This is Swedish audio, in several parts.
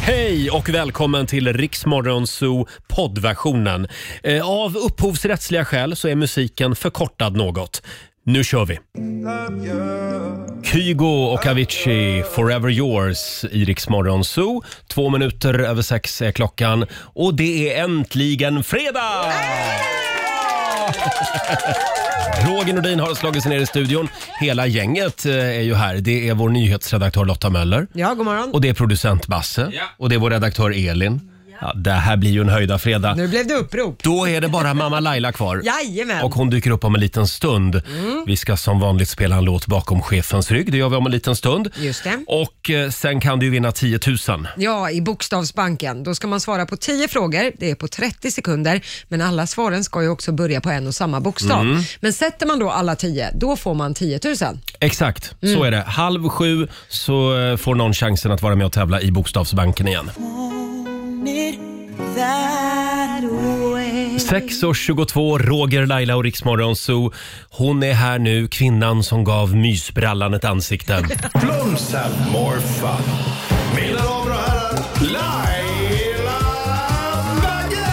Hej och välkommen till Riksmorgon Zoo poddversionen. Eh, Av upphovsrättsliga skäl så är musiken förkortad något. Nu kör vi! Kygo och Avicii, Forever Yours i Riksmorgon Zoo. Två minuter över sex är klockan och det är äntligen fredag! Roger Nordin har slagit sig ner i studion. Hela gänget eh, är ju här. Det är vår nyhetsredaktör Lotta Möller. Ja, god morgon. Och det är producent Basse. Och det är vår redaktör Elin. Ja, det här blir ju en höjda fredag. Nu blev det upprop. Då är det bara mamma Laila kvar. Jajamän. Och hon dyker upp om en liten stund. Mm. Vi ska som vanligt spela en låt bakom chefens rygg. Det gör vi om en liten stund. Just det. Och eh, sen kan du ju vinna 10 000. Ja, i Bokstavsbanken. Då ska man svara på 10 frågor. Det är på 30 sekunder, men alla svaren ska ju också börja på en och samma bokstav. Men sätter man då alla 10, då får man 10 000. Exakt, Mm. så är det. Halv sju så eh, får någon chansen att vara med och tävla i Bokstavsbanken igen. 6 år 22, Roger, Laila och Riksmorgon Zoo. Hon är här nu, kvinnan som gav mysbrallan ett ansikte. Blooms have more fun. Mina damer och herrar, Laila Bagge!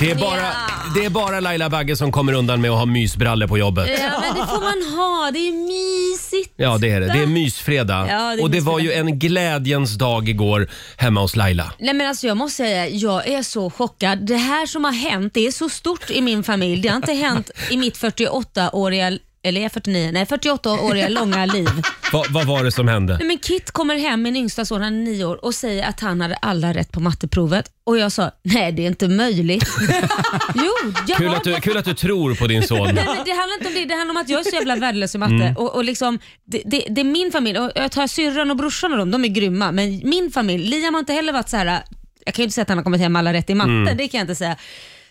Det är bara, det är bara Laila Bagge som kommer undan med att ha mysbrallor på jobbet. Ja, men det får man ha. Det är mysigt. Ja, det är det. Det är mysfredag. Ja, det är och det mysfredag. var ju en glädjens dag igår hemma hos Laila. Nej men alltså jag måste säga, jag är så chockad. Det här som har hänt, det är så stort i min familj. Det har inte hänt i mitt 48-åriga, eller är jag 49? Nej 48-åriga långa liv. Va, vad var det som hände? Nej men Kit kommer hem, min yngsta son, han är nio år och säger att han hade alla rätt på matteprovet. Och jag sa, nej det är inte möjligt. jo, jag Kul har att, du, kul att du tror på din son. Nej, men det handlar inte om det, det handlar om att jag är så jävla värdelös i matte. Och, och liksom, det, det, det är min familj, och jag tar syrran och brorsan och dem, de är grymma. Men min familj, Liam har inte heller varit så här. jag kan ju inte säga att han har kommit hem med alla rätt i matte, det kan jag inte säga.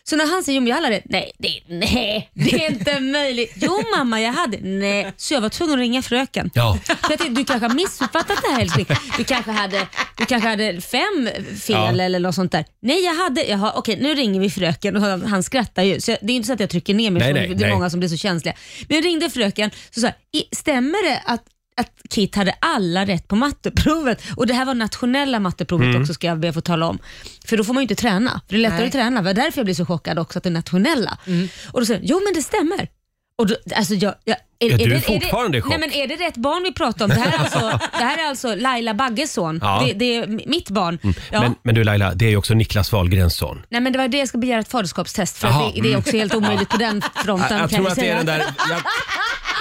Så när han säger om jag har alla rätt, nej det, nej, det är inte möjligt. Jo mamma jag hade, nej. Så jag var tvungen att ringa fröken. Ja. För jag tänkte, du kanske har missuppfattat det här älskling. Du kanske hade, du kanske hade fem fel Ja. eller något sånt där. Nej jag hade, jaha okej nu ringer vi fröken och han, han skrattar ju. Så jag, det är inte så att jag trycker ner mig, Nej, så nej, det är nej. många som blir så känsliga. Men jag ringde fröken och sa, "I- stämmer det att att Kit hade alla rätt på matteprovet och det här var nationella matteprovet Mm. också ska jag be att få tala om. För då får man ju inte träna, för det är lättare Nej. att träna. Det var därför jag blev så chockad också att det är nationella. Mm. Och då säger jag, jo men det stämmer. Och då, alltså jag, jag, är, Ja, du är det- fortfarande i det, chock. Nej, men är det rätt barn vi pratar om? Det här är alltså, det här är alltså Laila Bagges son. Ja. Mm. Det, det är mitt barn. Ja. Men, men du Laila, det är ju också Niklas Wahlgrens son. Nej men det var det jag ska begära ett faderskapstest för. Jaha, mm. det, det är också helt omöjligt på den fronten Jag, jag kan tror jag att det är säga. den där... Jag,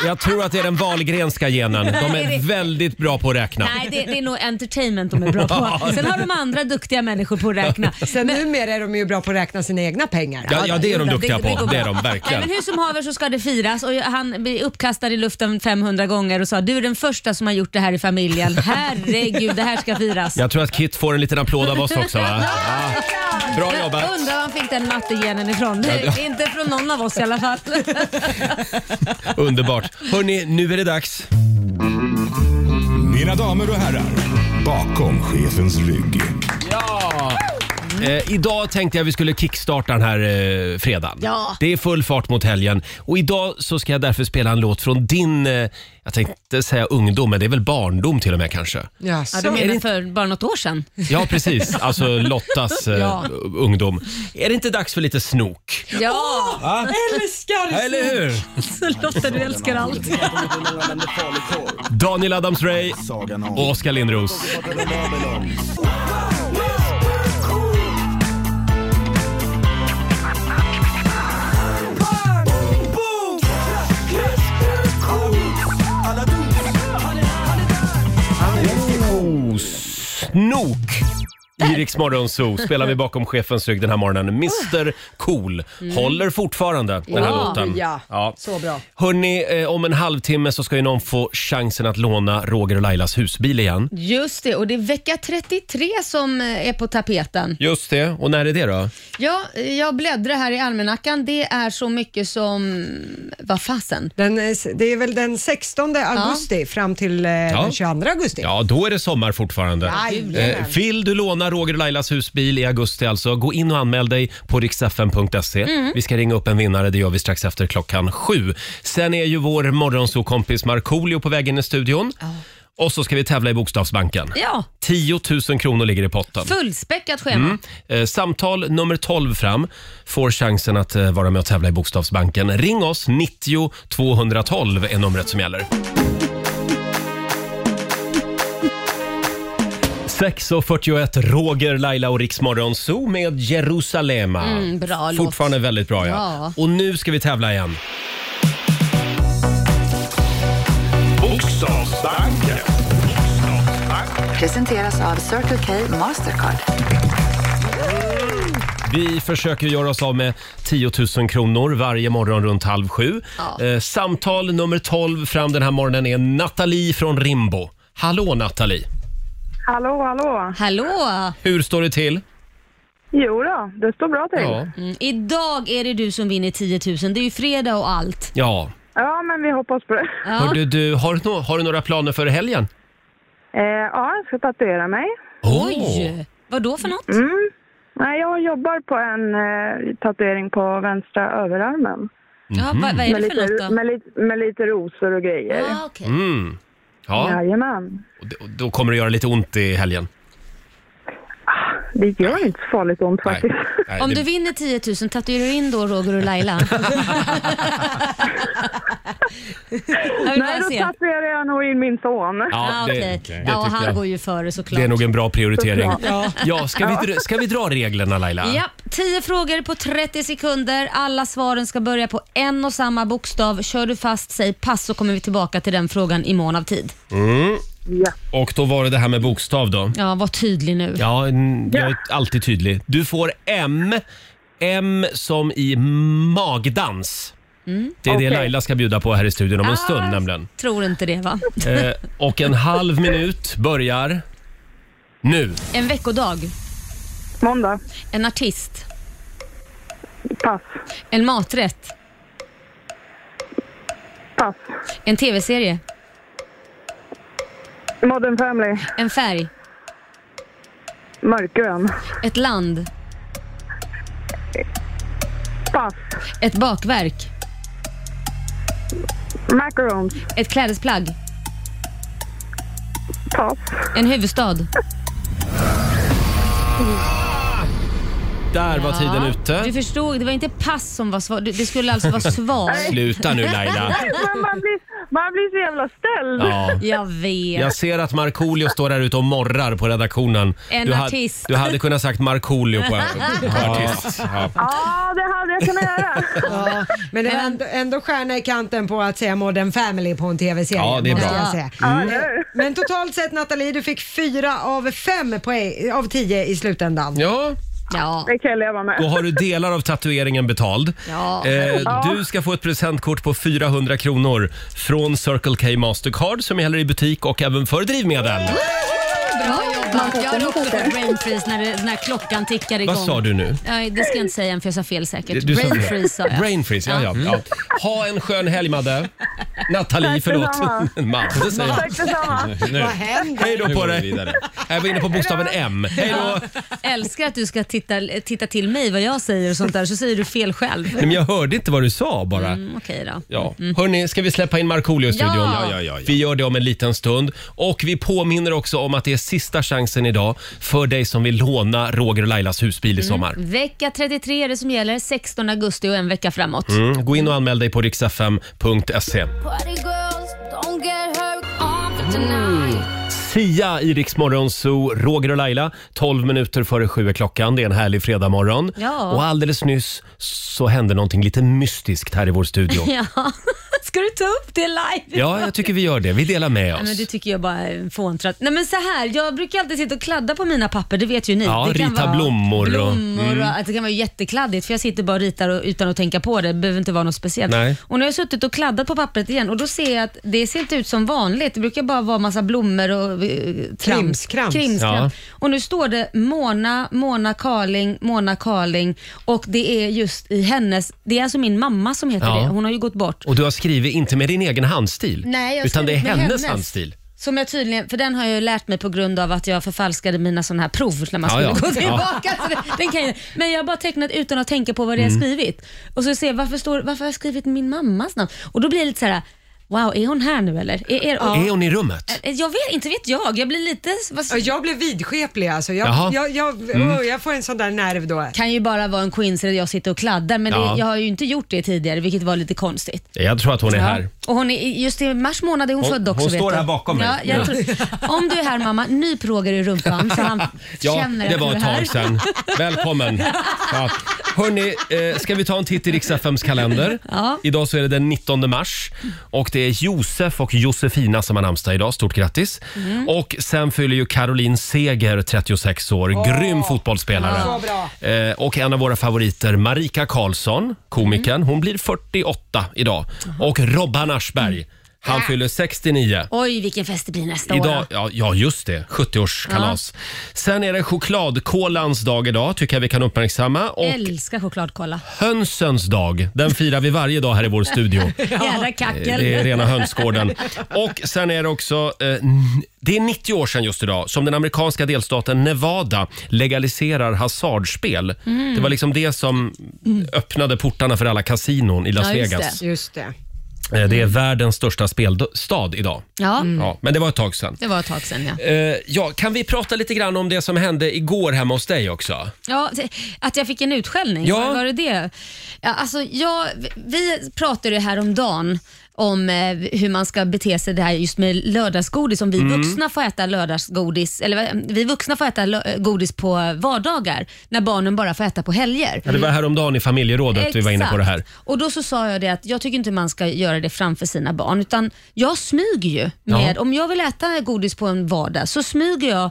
jag tror att det är den Wahlgrenska genen. De är väldigt bra på att räkna. Nej, det, det är nog entertainment de är bra Ja. på. Sen har de andra duktiga människor på att räkna. Sen numera är de ju bra på att räkna sina egna pengar. Ja, ja, det är de duktiga det på. går Det är bra. de Nej, verkligen. men hur som haver så ska det firas och jag- han blir uppkastad i luften 500 gånger och sa du är den första som har gjort det här i familjen. Herregud, det här ska firas. Jag tror att Kit får en liten applåd av oss också va? Ja. Bra Jag jobbat! Undrar var han fick den mattegenen ifrån. Det är inte från någon av oss i alla fall. Underbart. Hörni, nu är det dags. Mina damer och herrar, bakom chefens rygg. Eh, idag tänkte jag vi skulle kickstarta den här eh, fredagen. Ja. Det är full fart mot helgen. Och idag så ska jag därför spela en låt från din, eh, jag tänkte säga ungdom, men det är väl barndom till och med kanske? Ja, Ja, du så. menar för bara något år sedan? Ja, precis. Alltså Lottas eh, Ja. ungdom. Är det inte dags för lite snok? Ja! Oh! Älskar Eller hur? Lotta, du älskar allt. Daniel Adams-Ray och Oskar Lindros. Snok! I Rix Morgon Zoo spelar vi bakom chefens rygg den här morgonen. Mr Cool håller fortfarande den här Ja, låten. Mm. ja. Så bra. Hörni, eh, om en halvtimme så ska ju någon få chansen att låna Roger och Lailas husbil igen. Just det, och det är vecka 33 som eh, är på tapeten. Just det. Och när är det då? Ja, eh, jag bläddrar här i almanackan. Det är så mycket som... Vad fasen? Den, är- det är väl den 16 augusti fram till eh, den 22 augusti. Ja, då är det sommar fortfarande. Jajamän. Eh, vill du låna Roger och Lailas husbil i augusti alltså. Gå in och anmäl dig på riksfn.se. Vi ska ringa upp en vinnare, det gör vi strax efter klockan sju. Sen är ju vår morgonsokompis Markoolio på väg in i studion. Och så ska vi tävla i Bokstavsbanken. Ja, 10 000 kronor ligger i potten. fullspäckat schema. Eh, Samtal nummer 12 fram får chansen att eh, vara med och tävla i Bokstavsbanken. Ring oss, 90 212 är numret som gäller. 6.41, Roger, Laila och Riksmorgon Zoo med Jerusalema. Mm, bra låt. Fortfarande väldigt bra ja. Ja. Och nu ska vi tävla igen. Bokstavsbanken. Presenteras av Circle K Mastercard. Vi försöker göra oss av med 10 000 kronor varje morgon runt halv sju. Eh, samtal nummer 12 fram den här morgonen är Nathalie från Rimbo. Hallå Nathalie! Hallå, hallå. Hallå! Hur står det till? Jo då, det står bra till. Ja. Mm, idag är det du som vinner 10 000. Det är ju fredag och allt. Ja. men vi hoppas på det. Ja. Hörde du, har, du nå- har du några planer för helgen? Eh, ja, jag ska tatuera mig. Åh, Oj! Vad då för något? Nej, jag jobbar på en eh, tatuering på vänstra överarmen. Mm. Ja, vad, vad är Med det för något lite, då? med, lite, med lite rosor och grejer. Ah, okej. Mm. Ja, Jajamän. och d- och då kommer det göra lite ont i helgen. Det gör inte så farligt ont faktiskt. Nej, Om det- du vinner 10 000, tatuerar du in då Roger och Laila? jag vill Nej, bara då se. tatuerar jag nog in min son. Ja, Ah, det, okej. det Ja, och tycker han jag. går ju före såklart. Det är nog en bra prioritering. Ja. Ja, ska, vi dra, ska vi dra reglerna Laila? Japp, 10 frågor på 30 sekunder. Alla svaren ska börja på en och samma bokstav. Kör du fast, säg pass så kommer vi tillbaka till den frågan i mån av tid. Och då var det det här med bokstav då. Ja, var tydlig nu. Ja, n- jag är alltid tydlig. Du får M. M som i magdans. Det är det Okej. Laila ska bjuda på här i studion om en stund Ah. nämligen. Tror inte det va? Eh, och en halv minut börjar nu. En veckodag, Måndag. en artist, Pass. en maträtt, Pass. en tv-serie, Modern Family. en färg, Mörkgrön. ett land, Pass. ett bakverk, Macarons. ett klädesplagg, Pass. en huvudstad. Där var tiden Du ute. förstod, det var inte pass som var svar. Du- Det skulle alltså vara svar. Sluta nu Laila. Men man, blir, man blir så jävla ställd. Ja. Jag vet. Jag ser att Markoolio står där ute och morrar på redaktionen. En du ha- artist. Du hade kunnat sagt Markoolio på, på artist. Ja, det hade jag kunnat göra. Ja, men det är ändå, ändå stjärna i kanten på att säga Modern Family på en tv-serie. Ja, det är måste bra. jag säga. Men, men totalt sett Nathalie, du fick fyra av fem poäng, av tio i slutändan. Ja, Ja. Det kan jag leva med. Då har du delar av tatueringen betald. Ja. Eh, du ska få ett presentkort på 400 kronor från Circle K Mastercard som gäller i butik och även för drivmedel. Bra jobbat. Jag har också fått brain freeze när, det, när klockan tickar igång. Vad sa du nu? Nej, det ska jag inte säga än för jag sa fel säkert. Du brain det. freeze sa jag. Brain freeze, ja, ja, ja. Ha en skön helg Madde. Nathalie, förlåt. detsamma. Madde säger jag. Tack detsamma. Vad händer? Hej då på går vi dig. vidare. Jag var inne på bokstaven M. Hej då. Älskar att du ska titta, titta till mig vad jag säger och sånt där så säger du fel själv. Nej, Men jag hörde inte vad du sa bara. Mm, Okej då. Ja. Hörni, ska vi släppa in Markoolio i studion? Ja. Ja, ja, ja, ja. Vi gör det om en liten stund. Och vi påminner också om att det är sista chansen idag för dig som vill låna Roger och Lailas husbil i Mm. sommar. Vecka 33 är det som gäller, 16 augusti och en vecka framåt. Mm. Gå in och anmäl dig på riksfm.se. Sia i Rix Morgon Zoo, Roger och Laila. 12 minuter före sju är klockan. Det är en härlig fredagmorgon. Ja. Och alldeles nyss så hände någonting lite mystiskt här i vår studio. Ja. Ska du ta upp det live? Ja, jag tycker vi gör det. Vi delar med Nej, men oss. det tycker jag bara är en fåntratt. Nej men så här, jag brukar alltid sitta och kladda på mina papper, det vet ju ni. Ja, det kan rita vara blommor och- Mm. blommor och, att det kan vara jättekladdigt för jag sitter bara och ritar och, utan att tänka på det, det behöver inte vara något speciellt. Nej. Och nu har jag suttit och kladdat på pappret igen och då ser jag att det ser inte ut som vanligt. Det brukar bara vara massa blommor och eh, trams. Krimskrams. Ja. Krimskrams. Och nu står det Mona, Mona Karling, Mona Karling och det är just i hennes, det är alltså min mamma som heter Ja. det. Hon har ju gått bort. Och du har skrivit inte med din egen handstil, Nej, jag har utan det är skrivit med hennes, hennes. handstil. Som jag tydligen, för den har jag ju lärt mig på grund av att jag förfalskade mina sådana här prov när man Ja, skulle ja. gå tillbaka. Så den, den kan jag, men jag har bara tecknat utan att tänka på vad det Mm. är jag skrivit. Och så ser jag, varför, står, varför har jag skrivit min mammas namn? Och då blir det lite så här: wow, är hon här nu eller? Är, är, Är hon i rummet? Jag vet inte, vet jag. Jag blir lite... Vad, Ja, Jag blev vidskeplig alltså. Jaha. Mm. Jag, jag, jag, åh, jag får en sån där nerv då. kan ju bara vara en coincidence att jag sitter och kladdar, men Ja. det, jag har ju inte gjort det tidigare, vilket var lite konstigt. Eh, Jag tror att hon är här. Och hon är, just i mars månad är hon, Hon- född också. hon vet står du. här bakom mig. ja, jag Ja. Tror, Om du är här mamma, nyp Roger i rumpan så han Ja, känner det att var du är ett här. tag sedan. Välkommen! Ja. Hörni, eh, ska vi ta en titt i Riks-FMs kalender? Ja. Idag så är det den 19 mars och det är Josef och Josefina som har namnsdag idag. Stort grattis! Mm. Och sen fyller ju Caroline Seger 36 år. Grym fotbollsspelare. Ja, så Eh, och en av våra favoriter, Marika Karlsson, komikern. Mm. Hon blir 48 idag. Och Robban Aschberg, han Äh. fyller 69. Oj, vilken fest det blir nästa Idag, år. ja, ja, just det. 70-årskalas. Sen är det chokladkolans dag idag, tycker jag vi kan uppmärksamma. Och Älskar chokladkolla. hönsens dag, den firar vi varje dag här i vår studio. Jädra Det är kackel. rena hönsgården. Och sen är det också, eh, n- det är 90 år sedan just idag som den amerikanska delstaten Nevada legaliserar hasardspel. Mm. Det var liksom det som öppnade portarna för alla kasinon i Las Ja, just Mm. Vegas. Just det. Det. Eh, det är världens största spelstad idag. Ja, Ja, men det var ett tag sedan. Mm. det var ett tag sedan ja. Eh, ja, kan vi prata lite grann om det som hände igår hemma hos dig också? Ja, att jag fick en utskällning, Ja. var, var det det? Ja, alltså, jag, vi pratade ju häromdagen om eh, hur man ska bete sig det här just med lördagsgodis, om vi Mm. vuxna får äta lördagsgodis, eller eh, vi vuxna får äta lö- eh, godis på vardagar när barnen bara får äta på helger. Ja, det var häromdagen i familjerådet vi var inne på det här. Och då så sa jag det att jag tycker inte man ska göra det framför sina barn utan jag smyger ju. Med, Ja. Om jag vill äta godis på en vardag så smyger jag,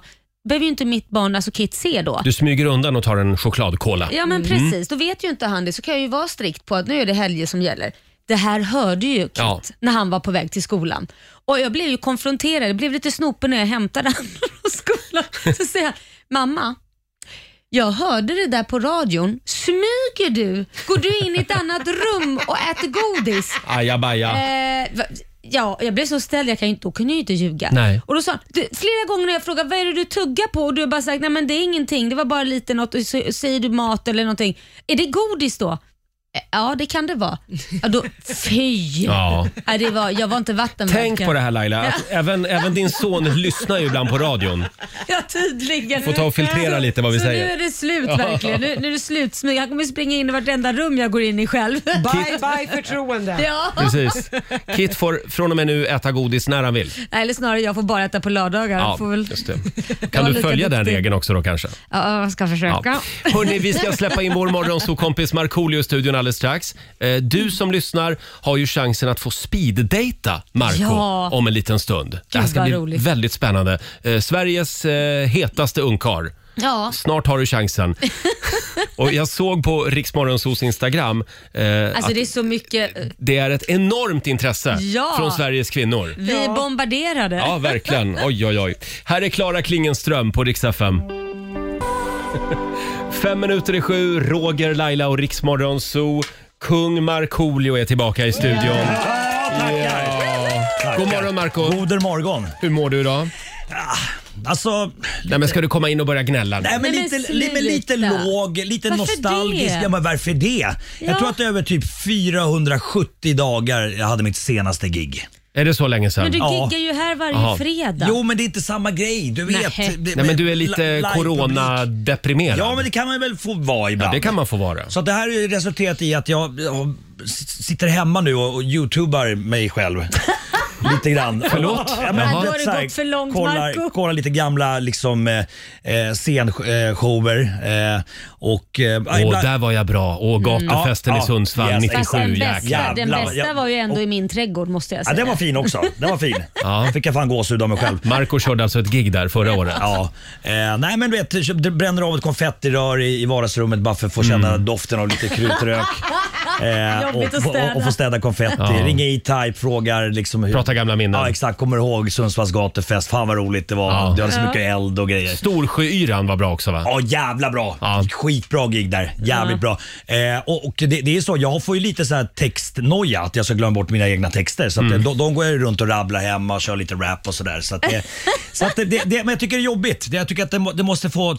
behöver ju inte mitt barn, alltså Kit, se då. Du smyger undan och tar en chokladkola. Ja men precis, då vet ju inte han det så kan jag ju vara strikt på att nu är det helger som gäller. Det här hörde ju Kit Ja. när han var på väg till skolan. Och Jag blev ju konfronterad, jag blev lite snopen när jag hämtade honom från skolan. Så säger jag, mamma, jag hörde det där på radion. Smyger du? Går du in i ett annat rum och äter godis? Ajabaja. Eh, va- ja, jag blev så ställd, jag kan ju inte, då kunde jag ju inte ljuga. Nej. Och då sa han, du, flera gånger när jag frågar vad är det du tuggar på och du har bara sagt nej men det är ingenting, det var bara lite något, och så, säger du mat eller någonting. Är det godis då? "Eh, Ja, det kan det vara. Ja, då, fy! Ja. Nej, det var, jag var inte vattenmärken. Tänk på det här Laila, att även, även din son lyssnar ju ibland på radion. Ja, tydligen. Får ta och filtrera lite vad vi så säger. nu är det slut verkligen. Nu, nu är det slutsmyg. Han kommer springa in i vartenda rum jag går in i själv. Bye, bye förtroende. Ja. Precis. Kit får från och med nu äta godis när han vill. Nej, Eller snarare, jag får bara äta på lördagar. Ja, får väl, just det. Jag Kan är du lika följa den duktig. regeln också då kanske? ja, jag ska försöka. Ja. Hörni, vi ska släppa in vår morgonsokompis Markoolio i studion alldeles strax. Eh, Mm. Du som lyssnar har ju chansen att få speeddata Marco Ja. om en liten stund. det här ska vad bli roligt. väldigt spännande. Eh, Sveriges eh, hetaste ungkarl. Ja. Snart har du chansen. Och jag såg på Riksmorgonsos Instagram eh, Alltså att det är så mycket, eh, det är ett enormt intresse Ja. från Sveriges kvinnor. vi är bombarderade. Ja, verkligen. Oj, oj, oj. Här är Klara Klingenström på Rix FM. Fem minuter i sju, Roger, Laila och Riksmorgon Zoo. Kung Markoolio är tillbaka i studion. Tackar. God morgon Marco. Goder morgon. Hur mår du idag? Alltså, Nej, men ska du komma in och börja gnälla? nu? nej, men Nej, men lite, li, men lite sluta. låg, lite Varför nostalgisk. det? Ja, men varför det? Ja. Jag tror att det är över typ 470 dagar jag hade mitt senaste gig. Är det så länge sedan? Men du Ja. giggar ju här varje Aha. fredag. Jo, men det är inte samma grej. Du vet. Nej. Det- Nej, men du är li- lite livepublik. coronadeprimerad. Ja, men det kan man väl få vara Ja, ibland. det kan man få vara. Så att det här har ju resulterat i att jag, jag s- sitter hemma nu och, och youtubar mig själv. Lite grann. Förlåt? Ja, men, Jaha. du Då har det vet, så här, gått för långt, Marco. kollar, kollar lite gamla liksom, eh, eh, scenshower. Eh, och, eh, Åh, ibland- Mm. där var jag bra. Åh, gatufesten Ja, i Sundsvall ja, yes, 97. Fast den jäklar. bästa, den Jävlar, bästa jag- var ju ändå och- i min trädgård måste jag Ja, säga. den var fin också. Den var fin. Ja. Fick jag fan gåshud av mig själv. Marco körde alltså ett gig där förra året. Ja. Eh, nej men du vet, Mm. det bränner av ett konfettirör i, i vardagsrummet bara för att få känna doften av lite krutrök. Eh, och, Jobbigt att städa. och, och får städa konfetti. Ja. Ringer E-Type, frågar liksom hur... Prata gamla minnen. Ja exakt, kommer ihåg Sundsvalls gatufest. Fan vad roligt det var. Ja. Det var så mycket eld och grejer. Storsjöyran var bra också va? Ja, jävla bra. Ja. Skitbra gig där. Jävligt bra. Eh, och och det, det är så, jag får ju lite så här textnoja att jag ska glömma bort mina egna texter. Så att Mm. de, de går jag ju runt och rabblar hemma och kör lite rap och sådär. Så att det, så att det, det, det, men jag tycker det är jobbigt. Det- Jag tycker att det, må- det måste få eh,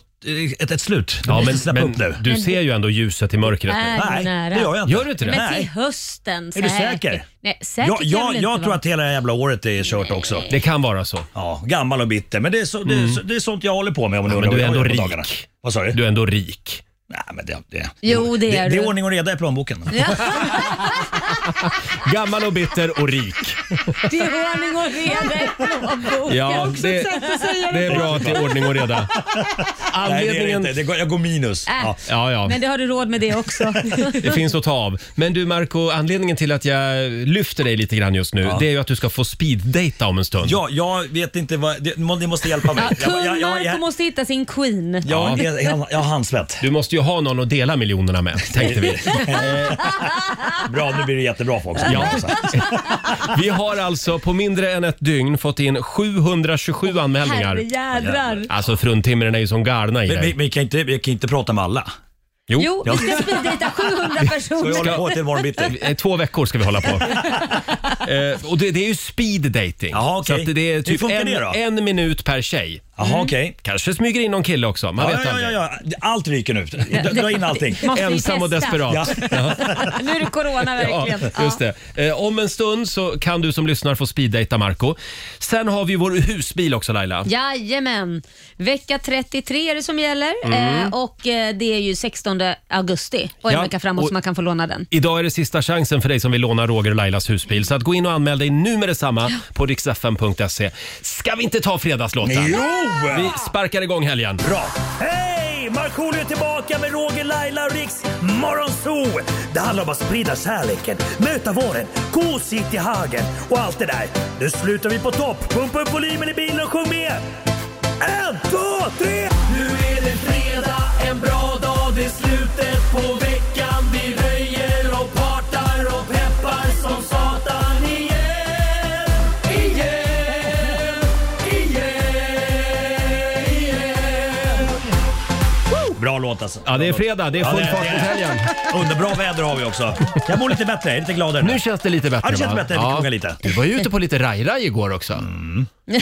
ett, ett slut. Det Ja, måste släppa men, upp nu. men du ser ju ändå ljuset i mörkret nu. Nej. är Nej, nära. det gör jag inte. Gör du inte det? Men till Nej. hösten Är du säker? Nej, säker Jag, kan jag jag, väl jag inte tror vara. att hela jävla året är kört också. Det kan vara så. Ja, gammal och bitter. Men det är, så, det, är så, det är sånt jag håller på med om ni Ja, undrar men du är vad jag ändå gör på rik. dagarna. Vad sa du? Du är ändå rik. Nej, men det, det, Jo, det är det, det är du. ordning och reda i plånboken. Gammal och bitter och rik. Det är ordning och reda i plånboken. Ja, det, det är bra att det är ordning och reda. Nej, det är det Anledningen... inte. Det går, jag går minus. Äh. Ja. Ja, ja. Men det har du råd med det också. Det finns att ta av. Men du Marco, anledningen till att jag lyfter dig lite grann just nu, det är ju att du ska få speeddata om en stund. Ja, jag vet inte vad... Det, må- ni måste hjälpa mig. Ja, Jag, kung jag, jag, jag, Marco jag, måste hitta sin queen. jag, jag, jag har handsvett. Du måste ju ha någon att dela miljonerna med, tänkte vi. Bra, nu blir det jättebra för också. Ja. Vi har alltså på mindre än ett dygn fått in 727 anmälningar. Herrejädrar. Alltså fruntimren är ju som galna i Men vi, dig. vi, kan inte, vi kan inte prata med alla. Jo, vi ska speeddejta 700 Så jag personer. håller på till imorgon bitti. Eh, Två veckor ska vi hålla på. eh, och det, det är ju speed dating. Jaha, okej. Så att det är Hur typ funkar en, det då? en minut per tjej. Jaha, okej. Kanske smyger in någon kille också. Man Ja, vet ja, aldrig. ja, ja. Allt ryker nu. Dra- Dra in allting. Måste vi Ensam och testa? desperat. Ja. Nu är det corona verkligen. Ja, just det. Eh, om en stund så kan du som lyssnar få speeddejta Marco. Sen har vi vår husbil också Laila. Jajamän. Vecka 33 är det som gäller Mm. eh, och eh, det är ju 16 augusti och en Ja, vecka framåt och- så man kan få låna den. Idag är det sista chansen för dig som vill låna Roger och Lailas husbil. Så att gå in och anmäl dig nu med detsamma på riksfn.se. Ska vi inte ta fredagslåten? Jo! Vi sparkar igång helgen. Bra. Hej! Markoolio är tillbaka med Roger, Laila och Riks Morgonzoo. Det handlar om att sprida kärleken, möta våren, gosigt i hagen och allt det där. Nu slutar vi på topp. Pumpa upp volymen i bilen och sjung med. En, två, tre! Nu är det fredag, en bra dag, det är slutet på veckan. Vi röjer och partar och peppar som satan igen. Igen, igen, igen. Bra låt alltså. Ja, det är fredag. Det är full fart mot helgen. Underbra väder har vi också. Jag mår lite bättre, jag är lite gladare Nu känns det lite bättre Ja, det känns va? bättre. Det kungar lite. Mm. Du var ju ute på lite raj-raj igår också.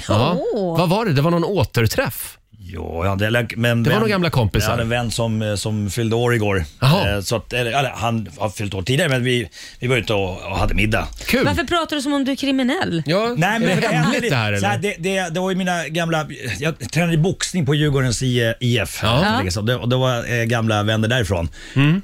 Ja. Åh. Vad var det? Det var någon återträff. Jo, jag hade, eller, men, Det var men- nog gamla kompisar. Jag hade en vän som, eh, som fyllde år igår. Jaha. Eh, Så att, eller, eller, han har fyllt år tidigare, men vi, vi var ute och, och hade middag. Kul! Varför pratar du som om du är kriminell? Ja, Nej, men är det hemligt det här Så eller? det, det, det var ju mina gamla... Jag tränade i boxning på Djurgårdens I- IF. Ja. Mm. Liksom. Det, och det var eh, gamla vänner därifrån.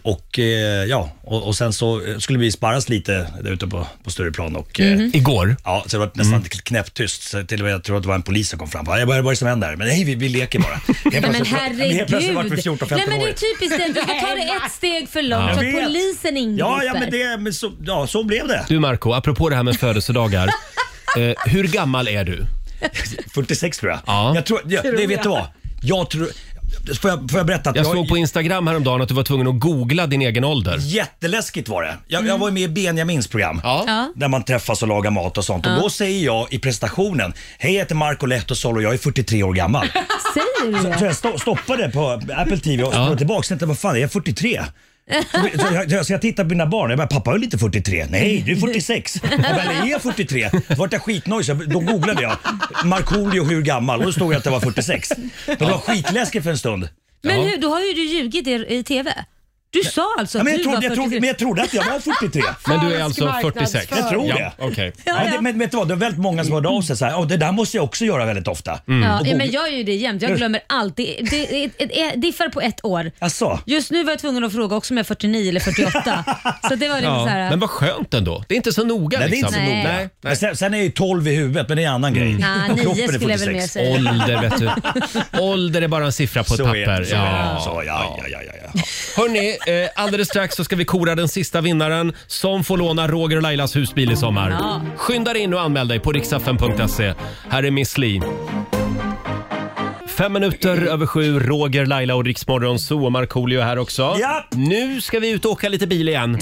Och eh, ja, och, och sen så eh, skulle vi sparras lite där ute på, på Stureplan och eh, Igår? Ja, så det var nästan knäpptyst. Så till och med, jag tror att det var en polis som kom fram. Jag bara, vad är det som händer? Men nej, vi, vi leker bara. Helt Nej men plötsligt- Helt herregud. plötsligt vart vi 14-15 Nej men det är år. typiskt det. Du ska ta det ett steg för långt Jag så att vet. polisen ingriper. Ja, ja, men det, men så, ja, så blev det. Du Marco, apropå det här med födelsedagar. eh, hur gammal är du? 46 tror jag. Ja. jag tror, ja, det vet du vad? Jag tror... Får jag, får jag berätta? Att Jag såg på Instagram häromdagen att du var tvungen att googla din egen ålder. Jätteläskigt var det. Jag, jag var med i Benjamins program. Ja. Ja. Där man träffas och lagar mat och sånt. Och då säger jag i presentationen, hej jag heter Marco Lehtosol och jag är 43 år gammal. Säger du Så det? jag sto- stoppade på Apple TV och Ja. ja. tillbaka och tänkte, vad fan, är jag 43? Så jag, så jag tittar på mina barn och jag bara, pappa är lite 43. Nej, du är 46. Jag bara, "Eller är jag 43? Då vart jag skitnojig så jag- då googlade jag. Markoolio hur gammal? Och då stod jag att jag var 46. Men det var skitläskigt för en stund. Men hur, då har ju du ljugit i, i TV. Du sa alltså Ja, att men, jag du var 43. trodde, jag trodde, men jag trodde att jag var 43. Men du är alltså 46? Jag tror det. Ja, okej. Ja, Nej, ja. det, men vet du vad, det var väldigt många som hörde av sig så här, "Åh, det där måste jag också göra väldigt ofta. Mm. Ja, ja, men jag gör ju det jämt. Jag glömmer allt. Det, det, det, det diffar på ett år. Alltså, Just nu var jag tvungen att fråga också om jag är 49 eller 48. så det var liksom Ja. så här. Men vad skönt ändå. Det är inte så noga Nej, det är liksom. inte så Nej. noga. Nej. Men sen, sen är jag ju 12 i huvudet, men det är en annan grej. Mm. Ja, ah, nio Kroppen är skulle jag väl 46. mer säga. Ålder vet du. Ålder är bara en siffra på ett Så är papper. det, så är det. Så, ja, ja, ja, ja, ja. Hörni, eh, alldeles strax så ska vi kora den sista vinnaren som får låna Roger och Lailas husbil i sommar. Ja. Skynda dig in och anmäl dig på riksfn.se. Här är Miss Li. Fem minuter över sju, Roger, Laila och Riksmorgon Zoo och Markoolio är här också. Ja. Nu ska vi ut och åka lite bil igen.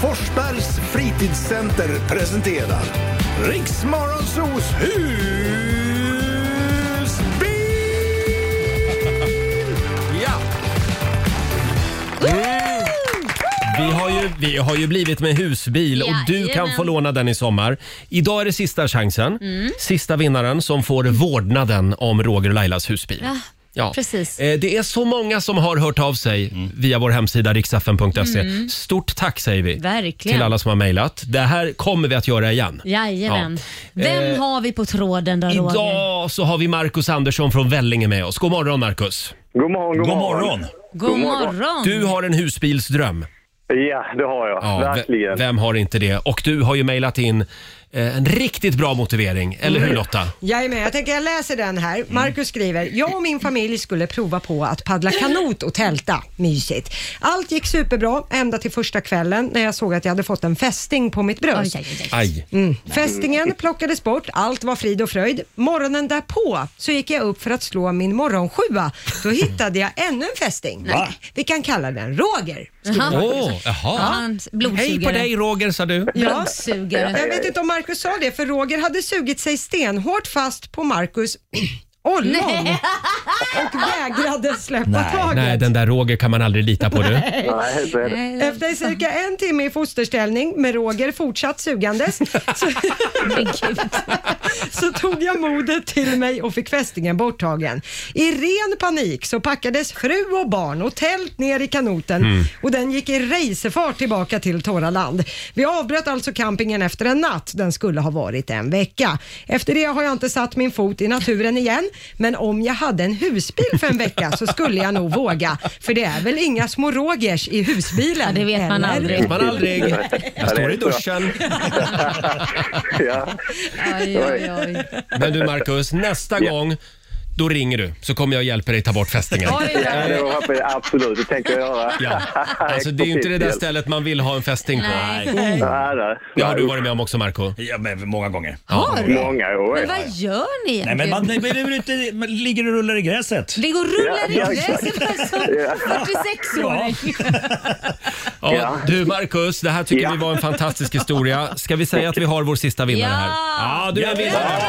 Forsbergs fritidscenter presenterar Riksmorgonsos husbil! Ja! Vi har ju, vi har ju blivit med husbil och du kan Jajamän. Mm. få låna den i sommar. Idag är det sista chansen. Sista vinnaren som får vårdnaden om Roger och Lailas husbil. Ja, precis. Eh, Det är så många som har hört av sig via vår hemsida riksfn.se. Stort tack säger vi Mm. Verkligen. till alla som har mejlat. Det här kommer vi att göra igen. Jajamän. Ja. Vem Eh, har vi på tråden då Roger? Idag så har vi Marcus Andersson från Vellinge med oss. God morgon Marcus! God morgon, god, God morgon. morgon. God morgon. Du har en husbilsdröm. Ja, det har jag. Ja, Verkligen. ve- Vem har inte det? Och du har ju mejlat in eh, en riktigt bra motivering, eller hur Lotta? Jajamän, jag tänker jag läser den här. Marcus skriver, jag och min familj skulle prova på att paddla kanot och tälta. Mysigt. Allt gick superbra ända till första kvällen när jag såg att jag hade fått en fästing på mitt bröst. Oj, oj, oj, oj. Aj. Mm. Fästingen plockades bort, allt var frid och fröjd. Morgonen därpå så gick jag upp för att slå min morgonsjua. Då hittade jag ännu en fästing. Va? Vi kan kalla den Roger. Aha. Åh, Ja, jaha. han- Hej på Blodsugare. dig Roger, sa du. Blodsugare. Jag vet inte om Marcus sa det, för Roger hade sugit sig stenhårt fast på Marcus ollon och vägrade släppa Nej, taget. Nej, den där Roger kan man aldrig lita på du. Nej, så är det. Efter cirka en timme i fosterställning med Roger fortsatt sugandes så, Men gud. så tog jag modet till mig och fick fästingen borttagen. I ren panik så packades fru och barn och tält ner i kanoten och den gick i racerfart tillbaka till torra land. Vi avbröt alltså campingen efter en natt. Den skulle ha varit en vecka. Efter det har jag inte satt min fot i naturen igen, men om jag hade en husbil för en vecka så skulle jag nog våga. För det är väl inga små Rogers i husbilen? Ja, det vet man eller? aldrig. Man aldrig. Jag står i duschen. Ja. Oj, oj, oj. Men du Marcus, nästa gång då ringer du så kommer jag hjälpa dig ta bort fästingen. Oj, Ja, det var hoppas jag absolut. Det tänker jag göra. Ja. Alltså, det är ju inte det där Experthjälp. stället man vill ha en fästing på. Nej. Nej, nej. Det har du varit med om också Marco Ja, men många gånger. Har du? Många år. Men vad gör ni Nej, men egentligen? man, nej, men det är väl inte, man ligger och rullar i gräset. Det går och rullar Ja, in. Jag är alltså så där som 46-åring. Ja, du Marcus, det här tycker Ja. vi var en fantastisk historia. Ska vi säga att vi har vår sista vinnare Ja. här? Ja, du är en vinnare.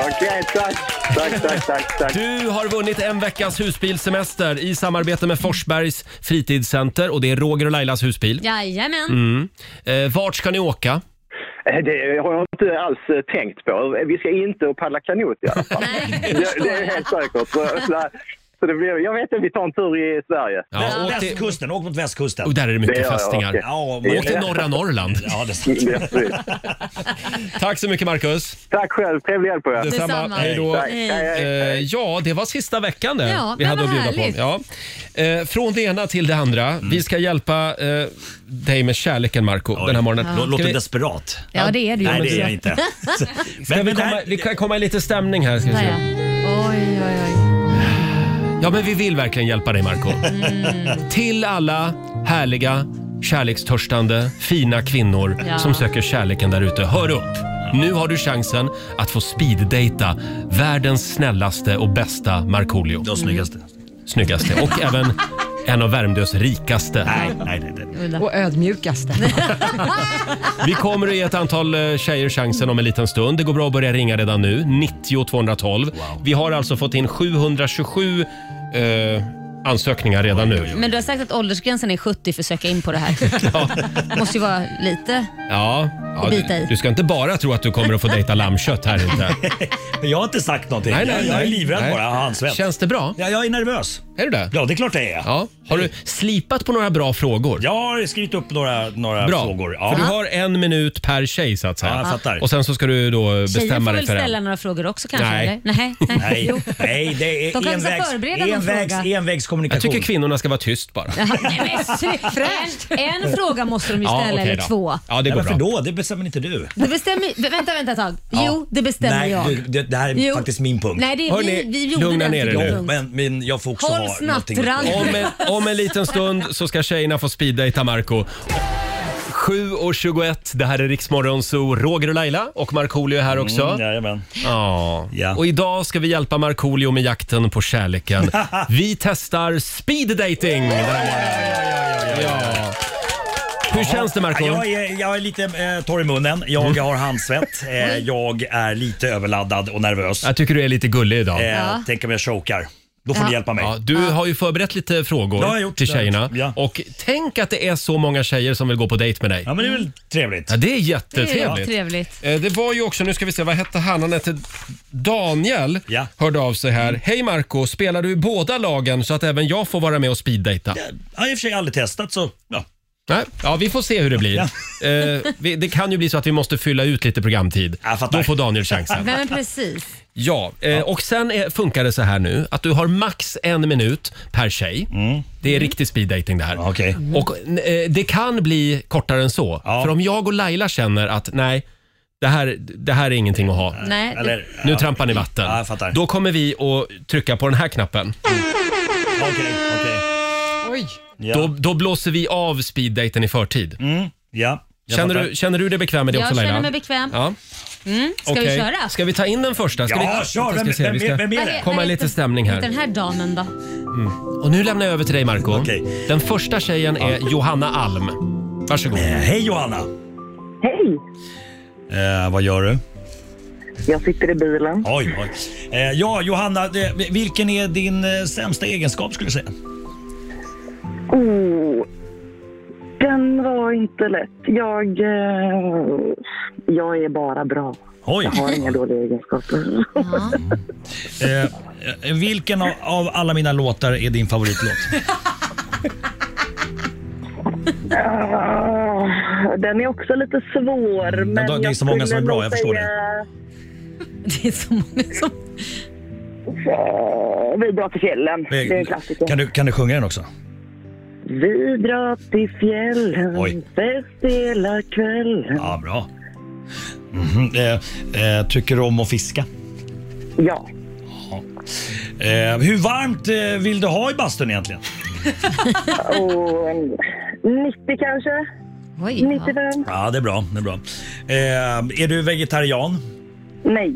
Okej, tack. Tack, tack, tack, tack. Du har vunnit en veckas husbilsemester i samarbete med Forsbergs fritidscenter och det är Roger och Lailas husbil. Jajamän. Mm. Eh, vart ska ni åka? Eh, Det har jag inte alls eh, tänkt på. Vi ska inte paddla kanot i alla fall. Nej, Det, det är helt säkert. Så, så, så det blir, jag vet inte, vi tar en tur i Sverige. Ja, åk, till, Västkusten, åk mot västkusten. och där är det Det mycket gör jag, fästingar. okej. Ja, men- Åk till norra Norrland. Ja, det är sant. Ja, precis. Tack så mycket Marcus. Tack själv. Trevlig helg på er. Detsamma. Hej då. Tack. Hej, hej. Eh, ja, det var sista veckan det Ja, vi men hade att vad bjuda härligt. på. Ja. Eh, från det ena till det andra. Vi ska hjälpa eh, dig med kärleken, Marco den här morgonen. Lå- Ska Låter vi, desperat. Ja, det är du ju Nej, det också. är jag ska inte. Men, vi, men det komma, här, vi kan komma i lite stämning här. Ska vi Där, se. ja. Oj, oj, oj. Ja, men vi vill verkligen hjälpa dig, Marco Mm. Till alla härliga, kärlekstörstande, fina kvinnor Ja. som söker kärleken där ute. Hör upp! Nu har du chansen att få speeddejta världens snällaste och bästa Markoolio. de snyggaste. Snyggaste och även en av Värmdös rikaste. Nej, nej, nej. nej. Och ödmjukaste. Vi kommer att ge ett antal eh, tjejer chansen om en liten stund. Det går bra att börja ringa redan nu. 90 212. Vi har alltså fått in 727 eh, ansökningar redan nu. Men du har sagt att åldersgränsen är 70 för att söka in på det här. måste ju vara lite. Ja, ja Och bita du, i. du ska inte bara tro att du kommer att få dejta lammkött här inte. Men Jag har inte sagt någonting. Nej, nej, Jag- jag är nej. livrädd Nej. bara. Jag har handsvett. Känns det bra? Ja, jag är nervös. Är du det? Ja, det är klart jag är. Ja. Har du slipat på några bra frågor? Jag har skrivit upp några, några Bra, frågor. för du Ja. har en minut per tjej så att säga. Ja, jag fattar. Och sen så ska du då Tjejer bestämma får dig väl för ställa en. några frågor också kanske? Nej. Eller? Nej. nej. Nej, Jo. nej, det De är kanske ska envägs, förbereda någon envägs, fråga. Jag envägskommunikation. tycker kvinnorna ska vara tyst bara. Jaha, nej, men sy- en, en fråga måste de ju ställa, okej eller då. två. Ja, det Nej, går varför bra. då? Det bestämmer inte du. Det bestämmer, vä- vänta, vänta ett tag. Ja. Jo, det bestämmer Nej, jag. du, det, det här är Jo. faktiskt min punkt. Nej, det är Hörrni, vi, vi gjorde lugna den ner er till nu. din Jo, punkt. men, men jag får också Håll ha någonting. snattran. Om en, om en liten stund så ska tjejerna få speeddejta Marco 7.21, det här är Riksmorgon, så Roger och Laila och Markoolio är här också. Mm, jajamän. Ja. Ja. Och idag ska vi hjälpa Markoolio med jakten på kärleken. Vi testar speed dating den här morgonen. Ja. Hur känns det Marko? Jag är, jag är lite eh, torr i munnen, jag Mm. har handsvett, eh, jag är lite överladdad och nervös. Jag tycker du är lite gullig Eh, idag. Tänk om jag chokar. Då får ni hjälpa mig. Ja, du har ju förberett lite Det har jag frågor gjort, till det har jag tjejerna. gjort, ja. Och tänk att det är så många tjejer som vill gå på dejt med dig. Ja, men det är väl trevligt. Ja, det är Det är jättetrevligt. trevligt. Eh, Det var ju också, nu ska vi se, vad hette han? Han hette Daniel. Ja. Hörde av sig här. Hej Marco, spelar du i båda lagen så att även jag får vara med och speeddejta? Jag har i och för sig aldrig testat så ja. Nej, ja, vi får se hur det blir. Eh, vi, det kan ju bli så att vi måste fylla ut lite programtid. Jag fattar. Då får Daniel chansen. Nej men precis. Ja, eh, och sen är, funkar det så här nu att du har max en minut per tjej. Det är riktig speeddating det här. Mm. Ja, okej. Och eh, det kan bli kortare än så. Ja. För om jag och Laila känner att nej, det här, det här är ingenting att ha. Nej, det, Eller, Nu ja. trampar ni vatten. Ja, jag fattar. Då kommer vi att trycka på den här knappen. Okej, okej. Oj. Ja, Då, då blåser vi av speeddaten i förtid. ja. Jag Känner fattar. du, känner du dig bekväm med det Jag också Laila? känner mig bekväm. Ja. ska vi Okej. köra? Ska vi ta in den första? Ska Ja, vi, kör! Vänta, Vem, ska vi vem, se. Vi ska- vem, vem är Vad det? he- komma vad lite heter- stämning här. heter Den här damen då? Och nu lämnar jag över till dig Marco. Okej. Den första tjejen är Johanna Alm. Varsågod. Eh, Hej Johanna! Hej! Eh, vad gör du? Jag sitter i bilen. Oj, oj. Eh, ja, Johanna, det, vilken är din eh, sämsta egenskap skulle du säga? Oh, den var inte lätt. Jag, eh, jag är bara bra. Oj. Jag har inga dåliga egenskaper. Eh, eh, vilken av, av alla mina låtar är din favoritlåt? Ah, den är också lite svår. Mm, men det är jag så många som är skulle bra, nog jag förstår det. säga, Det är så många som... eh, Vi drar till fjällen. Det är en klassiker. Eh, Kan du, kan du sjunga den också? Vi drar till fjällen, Oj. fest hela kvällen. Ja, bra. Mhm, eh, eh, tycker du om att fiska? Ja. Eh, hur varmt eh, vill du ha i bastun egentligen? Och en 90 kanske? Oj, ja. 95? Ja, det är bra. Det är, bra. Eh, är du vegetarian? Nej.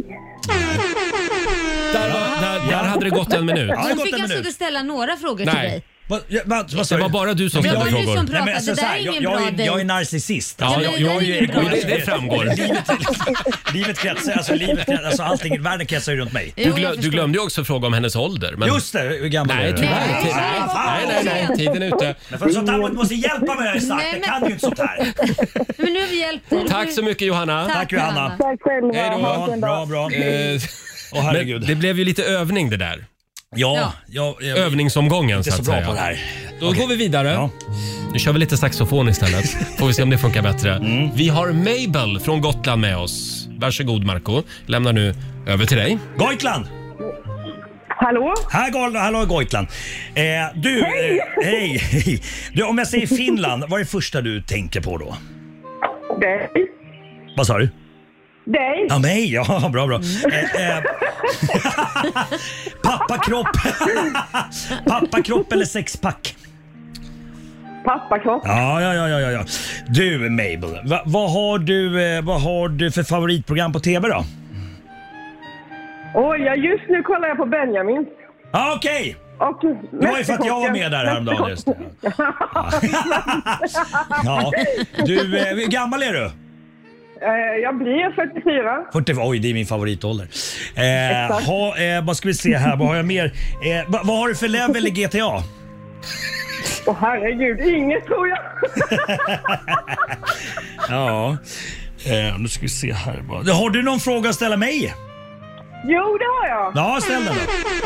Där, var, där, där hade det gått en minut. Ja, det har Hon gått fick en alltså minut. inte ställa några frågor till Nej. dig. Va, ja, va, vad sa Det du? var bara du som Men jag ställde Det var du frågor. som pratade, alltså, det så där här, är jag, ingen jag, bra är, jag är dejt. narcissist. Ja, Alltså, men jag, det jag, där är ju bra. det, det framgår. Livet kretsar, alltså, livet kretsar, alltså allting, världen kretsar ju runt mig. Du, Jo, jag glö, du förstår. glömde ju också fråga om hennes ålder. Men... Just det, hur gammal är Nej, du? tyvärr. Nej, Nej, fan, nej, nej, nej, nej, tiden är ute. Men för sånt här man måste hjälpa mig har jag sagt. Nej, Jag men- kan ju inte sånt här. Men nu har vi hjälpt dig. Tack så mycket Johanna. Tack, Johanna. Tack själva. Hej då. Ha en Ja, fin bra, dag. bra. Eh, Åh Men herregud. det blev ju lite övning det där. ja, jag, jag, Övningsomgången inte så så att bra på det säga. här. Då går vi vidare. Ja. Nu kör vi lite saxofon istället. Får vi se om det funkar bättre. Vi har Mabel från Gotland med oss. Varsågod Marco. Lämnar nu över till dig. Goitland! Hallå? Här går, hallå Goitland. Eh, du, hej. Eh, hej, hej! Du, om jag säger Finland, vad är det första du tänker på då? Dig? Vad sa du? Dig? Ja, mig? Ja, bra, bra. Eh, eh, pappakropp. pappakropp eller sexpack? Pappakropp? Ja, ja, ja, ja, ja, ja. Du Mabel, va, vad, har du, eh, vad har du för favoritprogram på TV då? Oj, ja, just nu kollar jag på Benjamin. Ah, Okej! Och Det var ju för att jag var med där häromdagen. Just. det. Ja. Ja. Du, eh, hur gammal är du? Eh, Jag blir 44. 40, oj, det är min favoritålder. Eh, ha, eh, vad ska vi se här, vad har jag mer? Eh, va, vad har du för level i GTA? Åh herregud, inget tror jag. Ja, eh, nu ska vi se här bara. Har du någon fråga att ställa mig? Jo, det har jag. Ja, ställ den då.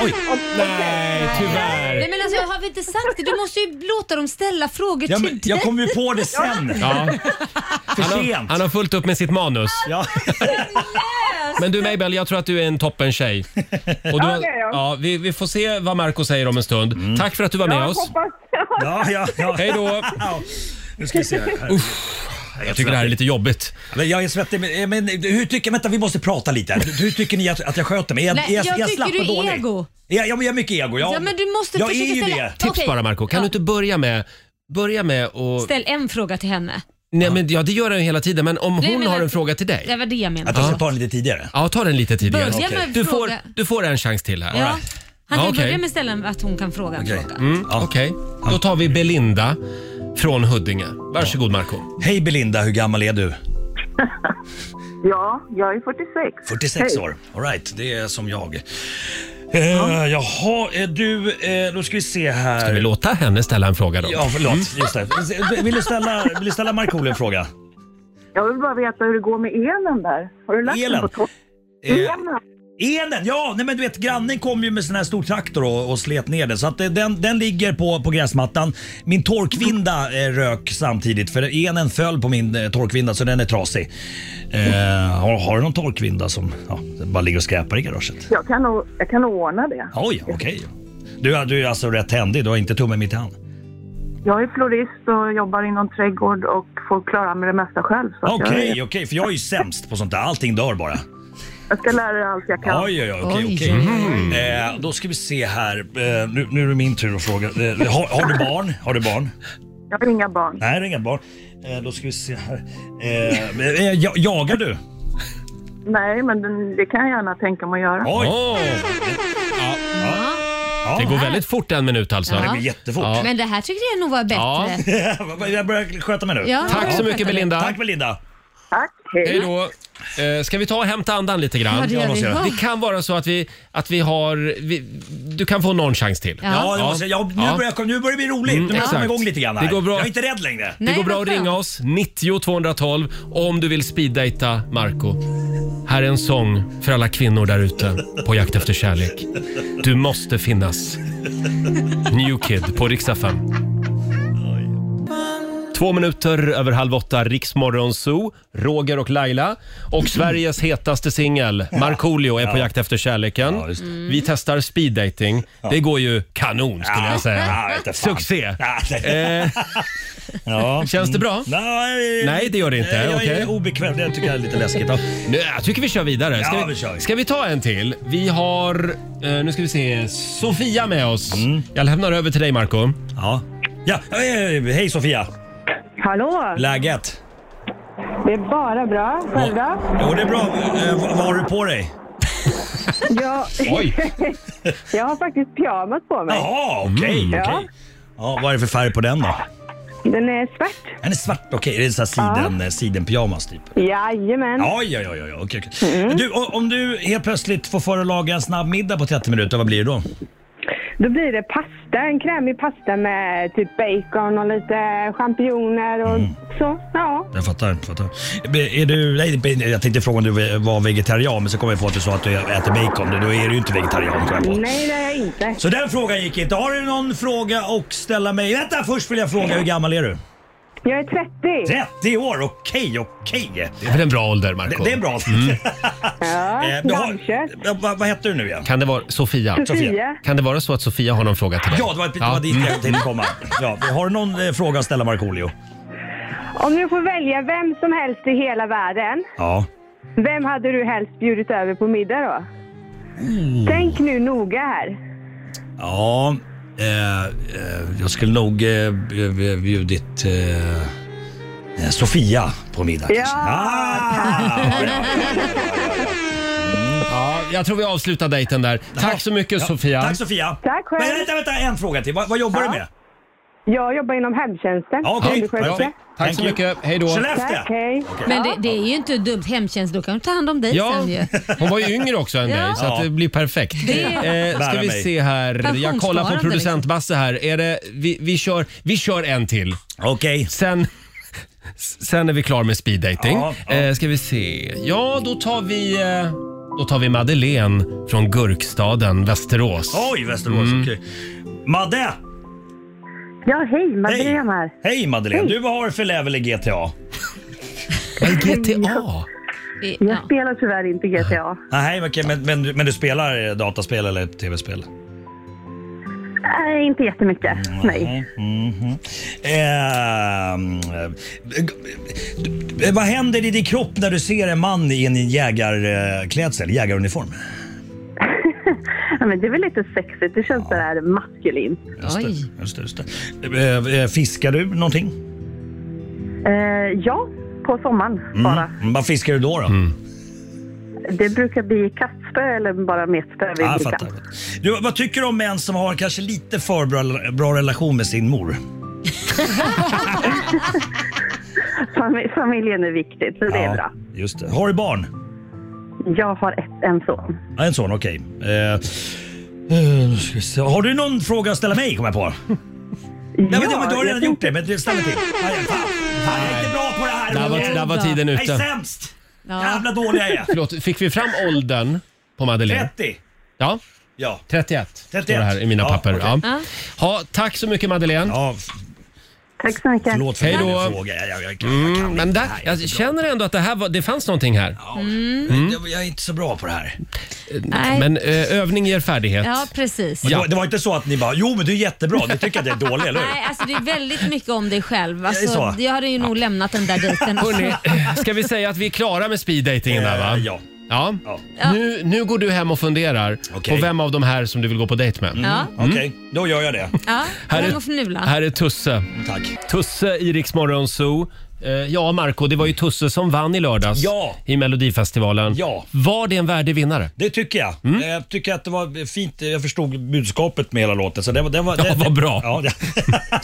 Oj. Nej, tyvärr. Nej men alltså har vi inte sagt det? Du måste ju låta dem ställa frågor Ja, men till dig. jag kom ju på det sen. Ja, För han, har, sent. han har fullt upp med sitt manus. Ja. Men du Mabel, jag tror att du är en toppen tjej. Och du, har- det är jag. ja, vi, vi får se vad Marco säger om en stund. Tack för att du var med Jag oss. hoppas. Ja, ja, ja. Hej då. Ja. Nu ska vi se här. Jag tycker det här är lite jobbigt. Men jag är svettig. Men, eh, men hur tycker, vänta, vi måste prata lite. här. Hur tycker ni att, att jag sköter mig? Är, Nej, är, är jag jag tycker slapp du och är dålig? ego. Ja, jag, jag är mycket ego. Jag, Ja, men du måste jag är försöka ju ställa- det. Tips Okej. bara Marco. kan Ja. du inte börja med, börja med att Ställ en fråga till henne. Nej, men, ja, det gör den hela tiden, men om jag hon menar- har en fråga till Det dig. var det jag Att menade. jag ska ta den lite tidigare. Ja, ta den lite tidigare. Börja med Du får, fråga. du får en chans till här. Ja. Han Ja, kan ju okej. börja med ställen att hon kan fråga en Okej. fråga. Mm, Okej, då tar vi Belinda från Huddinge. Varsågod Marco Hej Belinda, hur gammal är du? Ja, jag är 46. 46 år. All right, det är som jag. Eh, jaha, eh, du, eh, då ska vi se här. Ska vi låta Mm. henne ställa en fråga då? Ja, förlåt. Just det. Vill du ställa, vill du ställa Markoolio en fråga? Jag vill bara veta hur det går med elen där. Har du lagt Elen? den på topp? Eh, Elen? enen, ja! Nej, men du vet, grannen kom ju med sån här stor traktor och, och slet ner den. Så att eh, den, den ligger på, på gräsmattan. Min torkvinda eh, rök samtidigt för enen föll på min eh, torkvinda så den är trasig. Eh, har, har du någon torkvinda som ja, bara ligger och skräpar i garaget? Jag kan, nog, jag kan nog ordna det. Oj, okej. Du, du är alltså rätt händig, du har inte tummen mitt i hand. Jag är florist och jobbar inom trädgård och får klara med det mesta själv. Så att Okej, jag, okej, för jag är ju sämst på sånt där. Allting dör bara. jag ska lära dig allt jag kan. Oj, oj, oj, okej, Oj. Mm. okej. Eh, då ska vi se här. Eh, nu, nu är det min tur att fråga. Eh, har, har du barn? Har du barn? Jag har inga barn. Nej, det är inga barn. Eh, då ska vi se här. Eh, eh, ja- jagar du? Nej, men den- det kan jag gärna tänka mig att göra. Oj! Åh, Ja. det går väldigt fort en minut alltså. Det blir jättefort. Ja. Men det här tyckte jag nog var Ja. bättre. jag börjar sköta mig nu. Ja. Tack så mycket Belinda. Tack Belinda! Tack, Hej hej. då. Eh, Ska vi ta och hämta andan lite Ja, grann? det gör vi. Ja. Det kan vara så att vi, att vi har... Vi, du kan få någon chans till. Ja. Ja, det måste, jag- nu, Ja. Mm, Börjar, nu börjar det bli roligt. Nu börjar jag komma exakt. igång lite grann här. Det går bra. Jag är inte rädd längre. Det Nej, går bra vad att skönt. ringa oss, 90 212, om du vill speeddejta Marco. Här är en sång för alla kvinnor där ute på jakt efter kärlek. Du måste finnas. New Kid på Riksa 5. Två minuter över halv åtta, Riksmorgon Zoo, Roger och Laila och Sveriges hetaste singel, Markoolio, är på jakt efter kärleken. Ja, just det. Vi testar speeddating. Det går ju kanon skulle jag säga. Ja, jag vet inte fan. Succé! Ja, nej. Eh, Ja. känns det bra? Nej, Nej, det gör det inte. Jag Okej. är obekväm. Det tycker jag är lite läskigt. Ja. Nu, jag tycker vi kör vidare. Ska, Ja, vi kör. ska vi ta en till? Vi har, eh, nu ska vi se, Sofia med oss. Mm. Jag lämnar över till dig Marco. Ja. ja. eh, Hej Sofia! Hallå! Läget? Det är bara bra. Jo, det är bra. Eh, vad vad har du på dig? Jag, Oj! jag har faktiskt pyjamas på mig. Jaha, okej. Mm. okej. Ja, vad är det för färg på den då? Den är svart. Den är svart. Okej, är det en sån här siden, ja. sidenpyjamas typ? Jajamän. Ja, ja, ja. ja, ja. Okej, okej. Du, o- om du helt plötsligt får för att laga en snabb middag på 30 minuter, vad blir det då? Då blir det pasta, en krämig pasta med typ bacon och lite champinjoner och Mm. så. Ja. Jag fattar. Jag fattar. Är du, nej, jag tänkte fråga om du var vegetarian, men så kom jag på att du sa att du äter bacon. Då är du ju inte vegetarian kom jag på. Nej, det är jag inte. Så den frågan gick inte. Har du någon fråga att ställa mig? Vänta, först vill jag fråga hur gammal är du? Jag är 30. 30 år, okej, okej. Det är väl en bra ålder Det, Marco? det är bra. Ja, Eh, du har- dammkött. Ja, vad, vad heter du nu igen? Kan det vara, Sofia? Sofia. Kan det vara så att Sofia har någon fråga till dig? Ja, det var, det var dit jag tänkte komma. Ja, har du någon eh, fråga att ställa Markoolio? Om du får välja vem som helst i hela världen, Ja. vem hade du helst bjudit över på middag då? Tänk nu noga här. Mm. Ja, eh, eh, jag skulle nog eh, bj- bjudit eh, eh, Sofia på middag Ja, kanske. Ah, ja, Mm. Ja, jag tror vi avslutar dejten där. Tack så mycket ja. Sofia. Tack Sofia. Tack själv. Men vänta, vänta, en fråga till. Vad, vad jobbar du med? Jag jobbar inom hemtjänsten. Ja, okej. Undersköterska. Perfekt. Tack så Thank you. mycket, hej då. Skellefteå? Tack, hej. Men det, det är ju inte dumt. Hemtjänst, då kan du ta hand om dig Ja, sen ju. hon var ju yngre också än dig Ja. så att det blir perfekt. Det- Eh, ska Bära vi mig. se här. Jag kollar på Pensionssparande, producent Basse här. Är det, vi, vi, kör, vi kör en till. Okej. Sen, sen är vi klar med speeddating. Ja, ja. Eh, ska vi se. Ja, då tar vi, eh, då tar vi Madeleine från Gurkstaden, Västerås. Oj, Västerås. Okej. Madde! Ja, hej. Madeleine här. Hej Madeleine. Du, vad har du för level i GTA? Vad är GTA? I- Ja. spelar tyvärr inte GTA. Nej, Ah, okej, men, men, du- men du spelar eh, dataspel eller tv-spel? Nej, inte jättemycket. Mm, Nej. Mhm. Ehm, eh, g- eh, vad händer i din kropp när du ser en man i en jägarklädsel, jägaruniform? Ja, men det är väl lite sexigt. Det känns sådär maskulint. Just det, Oj. Just det, just det. Eh, eh, Fiskar du någonting? Eh, ja, på sommaren bara. Mm, Vad fiskar du då? då? Det brukar bli kastspö eller bara metspö vid Ah, jag bryggan. fattar. Du, vad tycker du om män som har kanske lite för bra, bra relation med sin mor? Fami- Familjen är viktig, så det är bra. Just det. Har du barn? Jag har ett, en son. Ja, en son, okej. Eh, eh, nu ska vi se. har du någon fråga att ställa mig, kommer jag på? Nej, men, men, du har jag redan gjort det, men det stannar till. Nej, fan. Fan, jag är inte bra på det här. Där var, där var tiden Jag är ute. sämst. Jävla dålig jag är. Förlåt, fick vi fram åldern på Madeleine? 30. Ja, Ja. 31 står det här i mina Ja, papper. okej. Ja. Ha, tack så mycket Madeleine. Ja, Tack så mycket. förlåt för Hej min då. Mm, fråga. Jag, jag, jag, jag, jag kan Men inte där, det här. Jag är jag inte känner ändå att det, här var, det fanns någonting här. bra. Mm. Jag, jag är inte så bra på det här. Nej. Men eh, övning ger färdighet. Ja, precis. Men Ja. det, var, det var inte så att ni bara, jo men du är jättebra, ni tycker att jag är dålig, eller hur? Nej, alltså det är väldigt mycket om dig själv. Alltså, Det är så. Jag hade ju nog lämnat den där dejten. Hörrni, ska vi säga att vi är klara med speeddejtingen där va? Eh, Ja. Ja. Nu, nu går du hem och funderar Okej. på vem av de här som du vill gå på dejt med. Ja, Okej, då gör jag det. ja. Här Här är- och fnula. Här är Tusse. Tack. Tusse i Rix Morgon Zoo. Eh, Ja, Marco, det var ju Tusse som vann i lördags Ja. i Melodifestivalen. Ja. Var det en värdig vinnare? Det tycker jag. Mm. Eh, Jag tycker att det var fint. eh, Jag förstod budskapet med hela låten. Så det, var- det var, Ja, det, vad bra. Ja, det,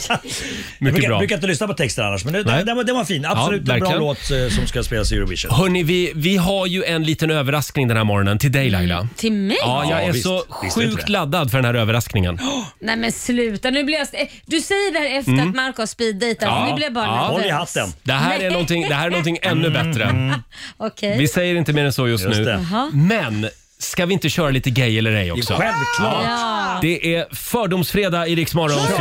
jag Mycket brukar, bra. brukar inte lyssna på texten annars, men det, Nej. det, det, var, det var fin. Absolut en bra verkligen. låt eh, som ska spelas i Eurovision. Hörni, vi, vi har ju en liten överraskning den här morgonen till dig Laila. Mm, Till mig? Ja, jag Ja, är visst. så Visst är det inte sjukt det? laddad för den här överraskningen. Nej men sluta, nu blir jag... st- eh, Du säger det här efter att Marco har speeddejtat, Mm. Ja. nu blir jag bara Ja. Håll i nervös. hatten. Det här är Nej. någonting, det här är någonting ännu Mm. bättre. Okej. Vi säger inte mer än så just, Just nu. det. Jaha. Men ska vi inte köra lite gay eller ej också? Självklart. Ja. Det är fördomsfredag i Rix Morgon. Så Ja,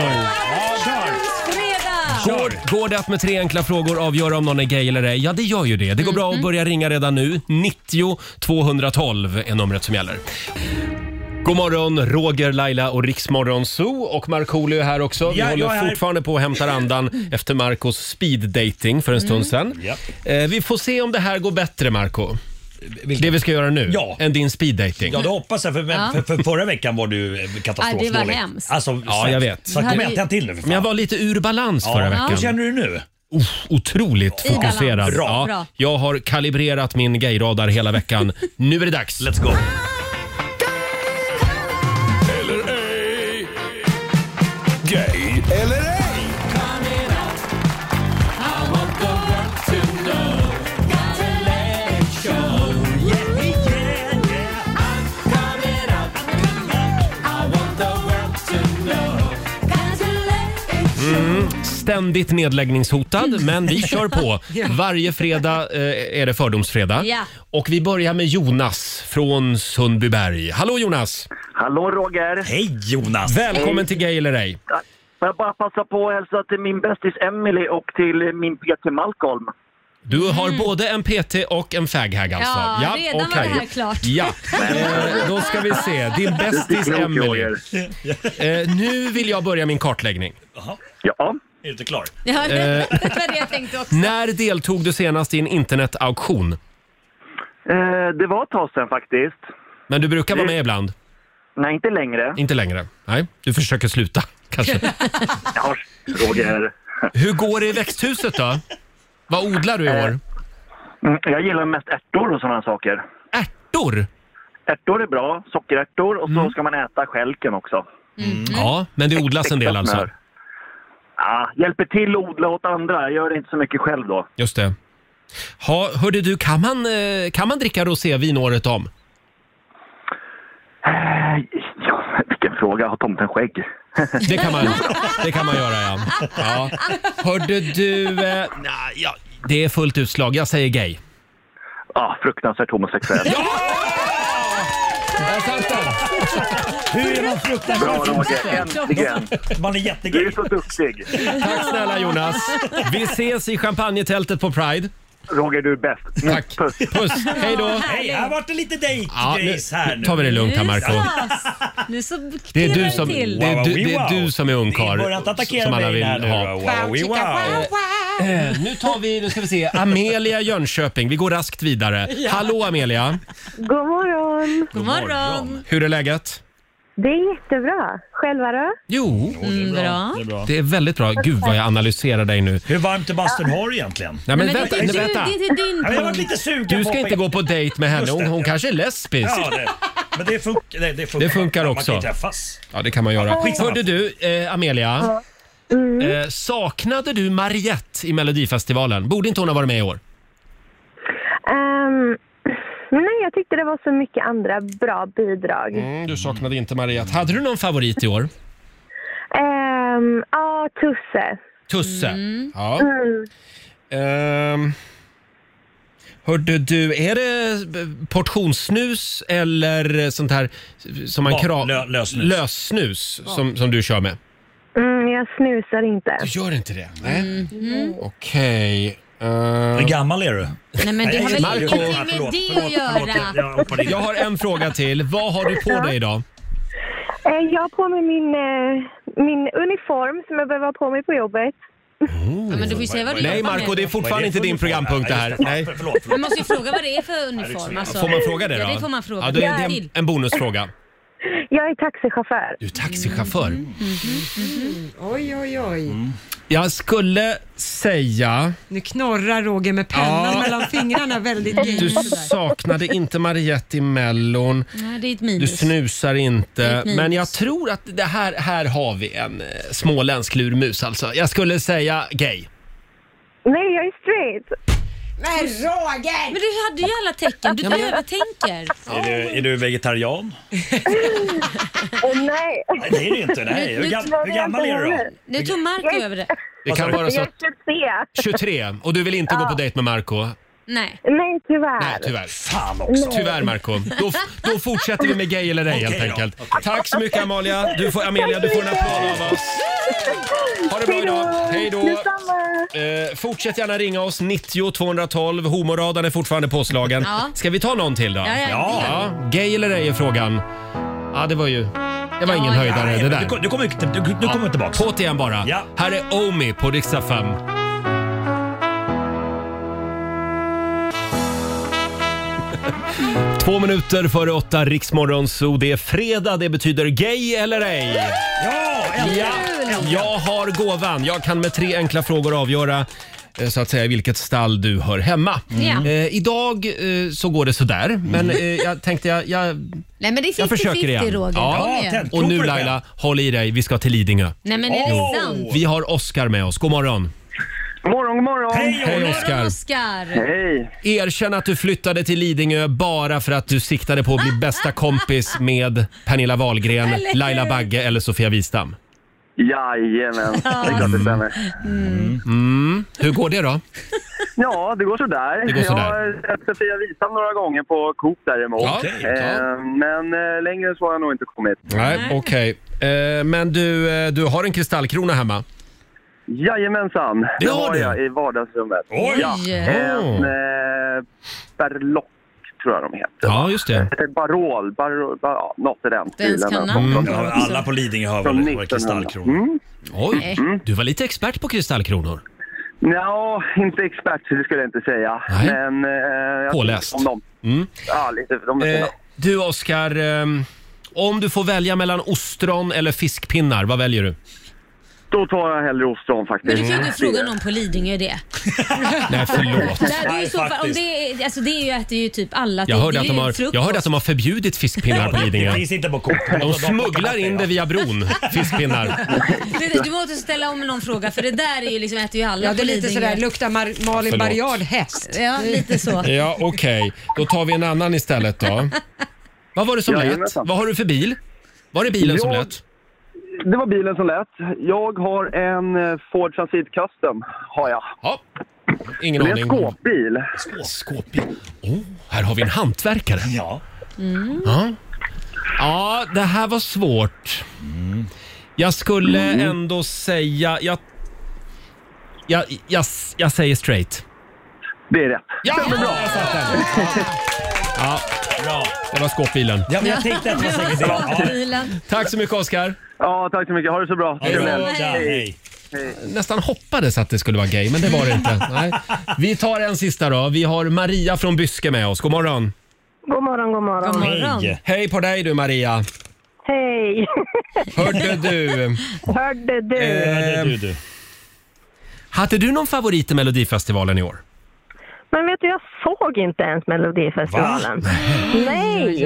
kör. Fredag! Går, går det att med tre enkla frågor avgöra om någon är gay eller ej? Ja, det gör ju det. Det går bra att börja ringa redan nu. 90 212 är numret som gäller. God morgon, Roger, Laila och Riksmorgon Zoo och Markoolio är här också. Vi Ja, jag är håller här. fortfarande på att hämta andan efter Marcos speed dating för en Mm. stund sedan. Japp. Eh, vi får se om det här går bättre, Marco. Vilken- Det vi ska göra nu, Ja. än din speed dating. Ja, det hoppas jag. För, men, för, för förra veckan var du eh, katastrofdålig. Ja, det var hemskt. Alltså, Ja, så- jag vet. Så kom igen, tänd till nu för fan. Men jag var lite ur balans Ja. förra veckan. Hur känner du nu? Uff, otroligt I balans. fokuserad. Bra. Ja, Bra. jag har kalibrerat min gayradar hela veckan. Nu är det dags. Let's go. Eller ej. Gay eller ej. Ständigt nedläggningshotad, men vi kör på. Varje fredag eh, är det fördomsfredag. Ja. Och vi börjar med Jonas från Sundbyberg. Hallå Jonas! Hallå Roger! Hej Jonas. Välkommen till Gay eller ej. Får jag bara passa på att hälsa till min bästis Emily och till min PT Malcolm. Du har både en PT och en faghag alltså. Mm. Ja, redan var okej. det här klart. Ja, eh, då ska vi se. Din bästis Klokt, Emily. Roger. Eh, nu vill jag börja min kartläggning. Ja, Är du inte klar? Ja, Eh. det var det jag tänkte också. När deltog du senast i en internetauktion? eh, det var ett tag sedan faktiskt. Men du brukar vara med ibland? Nej, inte längre. Inte längre? Nej, du försöker sluta kanske. Ja, Roger. Hur går det i växthuset då? Vad odlar du i år? Mm, Jag gillar mest ärtor och sådana saker. Eh. Ärtor? Ärtor är bra, sockerärtor och så Mm. ska man äta skälken också. Ja, men det odlas en del alltså. Smör. Ja, hjälper till att odla åt andra. Jag gör inte så mycket själv då. Just det. Ha, hörde du, kan man, eh, kan man dricka rosévin året om? Eh, Ja, vilken fråga. Har tomten skägg? Det kan man, det kan man göra ja. ja. Hörde du, eh, nej, ja, det är fullt utslag. Jag säger gay. Ja, fruktansvärt homosexuell. Där satt den! Hur är man Bra fruktansvärt Roger, äntligen! Man är Du är jättegay. så duktig! Tack snälla Jonas. Vi ses i champagnetältet på Pride. Roger, du är bäst. Tack. Puss. Puss, hej då. Hej, här vart det lite dejt Ja, nu Grace här nu. tar vi det lugnt här Nu Marco. sas- Nu så Det är, du pirrar som, till. det, är du, det är du som är ungkarl. Börja inte attackera Som alla mig vill här nu. ha. Wow, wow, wow. Eh, Nu tar vi, nu ska vi se, Amelia Jönköping. Vi går raskt vidare. Hallå Amelia, God morgon! God morgon. hur är läget? Det är jättebra. Själva då? Jo, Mm, bra. Det är bra. det är väldigt bra. Gud vad jag analyserar dig nu. Hur varmt är bastun har du egentligen? Nej, men Nej, men vänta, det är inte nej, du, det vänta. är inte din Ja, men jag har varit punkt. lite sugen Du på ska att- inte gå på dejt med henne. Just det. Hon, hon kanske är lesbisk. Ja, det. Men det, fun det, det funkar. Det funkar Man också. kan ju träffas. Ja, det kan man göra. Skitsamma. Hörde du, eh, Amelia. Eh, saknade du Mariette i Melodifestivalen? Borde inte hon ha varit med i år? Ehm, nej, jag tyckte det var så mycket andra bra bidrag. Mm. Mm, du saknade inte Mariette. Hade du någon favorit i år? Ehm, Ja, Tusse. Tusse? Ja. Ehm, hörde du, är det b- portionssnus eller sånt här som man Ja, kramar? lö- lössnus. Lössnus som, som du kör med? Mm, jag snusar inte. Du gör inte det? Nej. Okej. Ehm, Hur gammal är du? Nej, men det har väl Marco. ingenting Ja, med förlåt, det förlåt, att förlåt, göra? jag hoppar in. jag har en fråga till. Vad har du på dig idag? Eh, jag har på mig min, eh, min uniform som jag behöver ha på mig på jobbet. Ja, men du får ju säga vad du Nej jobbar Marco, med. det är Vad är fortfarande det inte för din uniform? programpunkt det Ja, här. just Nej. Förlåt, Man förlåt. måste ju fråga vad det är för uniform. Alltså. Får man fråga det då? Ja, det får man fråga. Ja, det, det är en, en bonusfråga. Jag är taxichaufför. Du är taxichaufför. Oj, oj, oj. Jag skulle säga... Nu knorrar Roger med pennan Ja. mellan fingrarna väldigt Du givande. saknade inte Mariette i Mellon. Nej, det är ett Du minus. snusar inte. ett minus. Men jag tror att det här, här har vi en eh, småländsk lurmus alltså. Jag skulle säga gay. Nej, jag är straight. Men Roger! Men du hade ju alla tecken. Du övertänker. Är du, är du vegetarian? Eh, nej. Nej, det är du inte. Nej. Hur, gam, hur gammal är du då? Nu tog Marco över det. Det kan vara så Jag är typ att 23. 23 och du vill inte gå på dejt med Marco Nej. Nej, tyvärr. Nej, tyvärr. Fan också. Tyvärr Marco Då, f- då fortsätter vi med gay eller ej helt Okej då. enkelt. Tack så mycket Amalia. Du får, Amelia, du får en applåd av oss. Ha det bra idag. Hej då. Detsamma. Eh, fortsätt gärna ringa oss, 90 212. Homoradan är fortfarande påslagen. Ja. Ska vi ta någon till då? Ja, ja, Ja. Ja, gay eller ej är frågan. Ja, det var ju... Det var ingen ja. höjdare Nej, det men där. Du, kom- du kommer inte du, du kommer tillbaka. På't igen bara. Ja. Här är Omi på riksdag 5. Två minuter före åtta, Riksmorgon Zoo. Det är fredag, det betyder gay eller ej. Ja, Ja, jag har gåvan. Jag kan med tre enkla frågor avgöra eh, så att säga i vilket stall du hör hemma. Ja. Mm. Eh, idag eh, så går det sådär, men eh, jag tänkte jag... jag Nej, men det är 50-50 Jag försöker igen. Roger. Ja. Kom Ja, igen. tänd. och Tror nu på det Laila, själv. håll i dig. Vi ska till Lidingö. Nej, men är Åh. det sant? Vi har Oscar med oss. God morgon. Morgon, god morgon! Hej, Hej Olle. Oscar. Oscar. Hej! Erkänn att du flyttade till Lidingö bara för att du siktade på att bli bästa kompis med Pernilla Wahlgren, Eller hur? Laila Bagge eller Sofia Wistam. Jajamän, det är klart det stämmer. Mm. Hur går det då? Ja, det går sådär. Det går sådär. Jag har sett Sofia Wistam några gånger på Coop däremot. Ja, ja. Eh, Men eh, längre så har jag nog inte kommit. Nej, okej. Eh, Men du, eh, du har en kristallkrona hemma. Jajamensan, det, Det har har du. jag i vardagsrummet. Oj. Ja. En eh, berlock tror jag de heter. Ja, just det. Eh, Barol, barol, bar, ja, något i den Den stilen. ska Från- Mm. namn. från- Ja, alla på Lidingö har Från väl 1900. kristallkronor? Mm. Oj, du var lite expert på kristallkronor. Ja, inte expert det skulle jag inte säga. Nej. Men eh, jag Påläst. tycker Om dem. Mm. Ja, lite. De är Eh, fina. du Oskar, ehm, om du får välja mellan ostron eller fiskpinnar, vad väljer du? Då tar jag hellre ostron faktiskt. Men du kan Mm. ju inte fråga någon på Lidingö det. Nej, förlåt. Nej, det är ju Nej, så, om faktiskt. det, är, alltså det är ju att det är ju typ alla. Jag det- hörde, det är att de ju har, frukost. jag hörde att de har förbjudit fiskpinnar på Det Lidingö. finns inte på Alltså, De Coop. smugglar in det via bron, fiskpinnar. Du, du måste ställa om någon fråga för det där är ju liksom, äter ju alla Ja, det på är lite Lidingö. sådär, luktar Mar- Malin Förlåt. Baryard häst. Ja, lite så. Ja, okej. Då tar vi en annan istället då. Vad var det som lät? Jajamensan. Vad har du för bil? Var det bilen som Ja. lät? Det var bilen som lät. Jag har en eh, Ford Transit Custom. Har jag. Ja, ingen Det är en aning. skåpbil. Skåpbil. Oh, här har vi en hantverkare. Ja. Ja. ja, det här var svårt. Jag skulle Mm. ändå säga... Jag, jag, jag, jag säger straight. Det är rätt. Ja, jag satt den. Ja, Bra. det var skåpbilen. Ja, men jag tänkte att det var säkert det. Ja, Bilen. Tack så mycket Oscar. Ja, tack så mycket. Ha det så bra. det är bra. Hej. Ja, hej. Nästan hoppades att det skulle vara gay, men det var det inte. Nej. Vi tar en sista då. Vi har Maria från Byske med oss. God morgon. God morgon, god morgon. God morgon. Hej. Hej på dig du Maria. Hej. Nej. Hörde du. Hörde du? Eh. du. Hade du någon favorit i Melodifestivalen i år? Men vet du, jag såg inte ens Melodifestivalen. Va? Nej!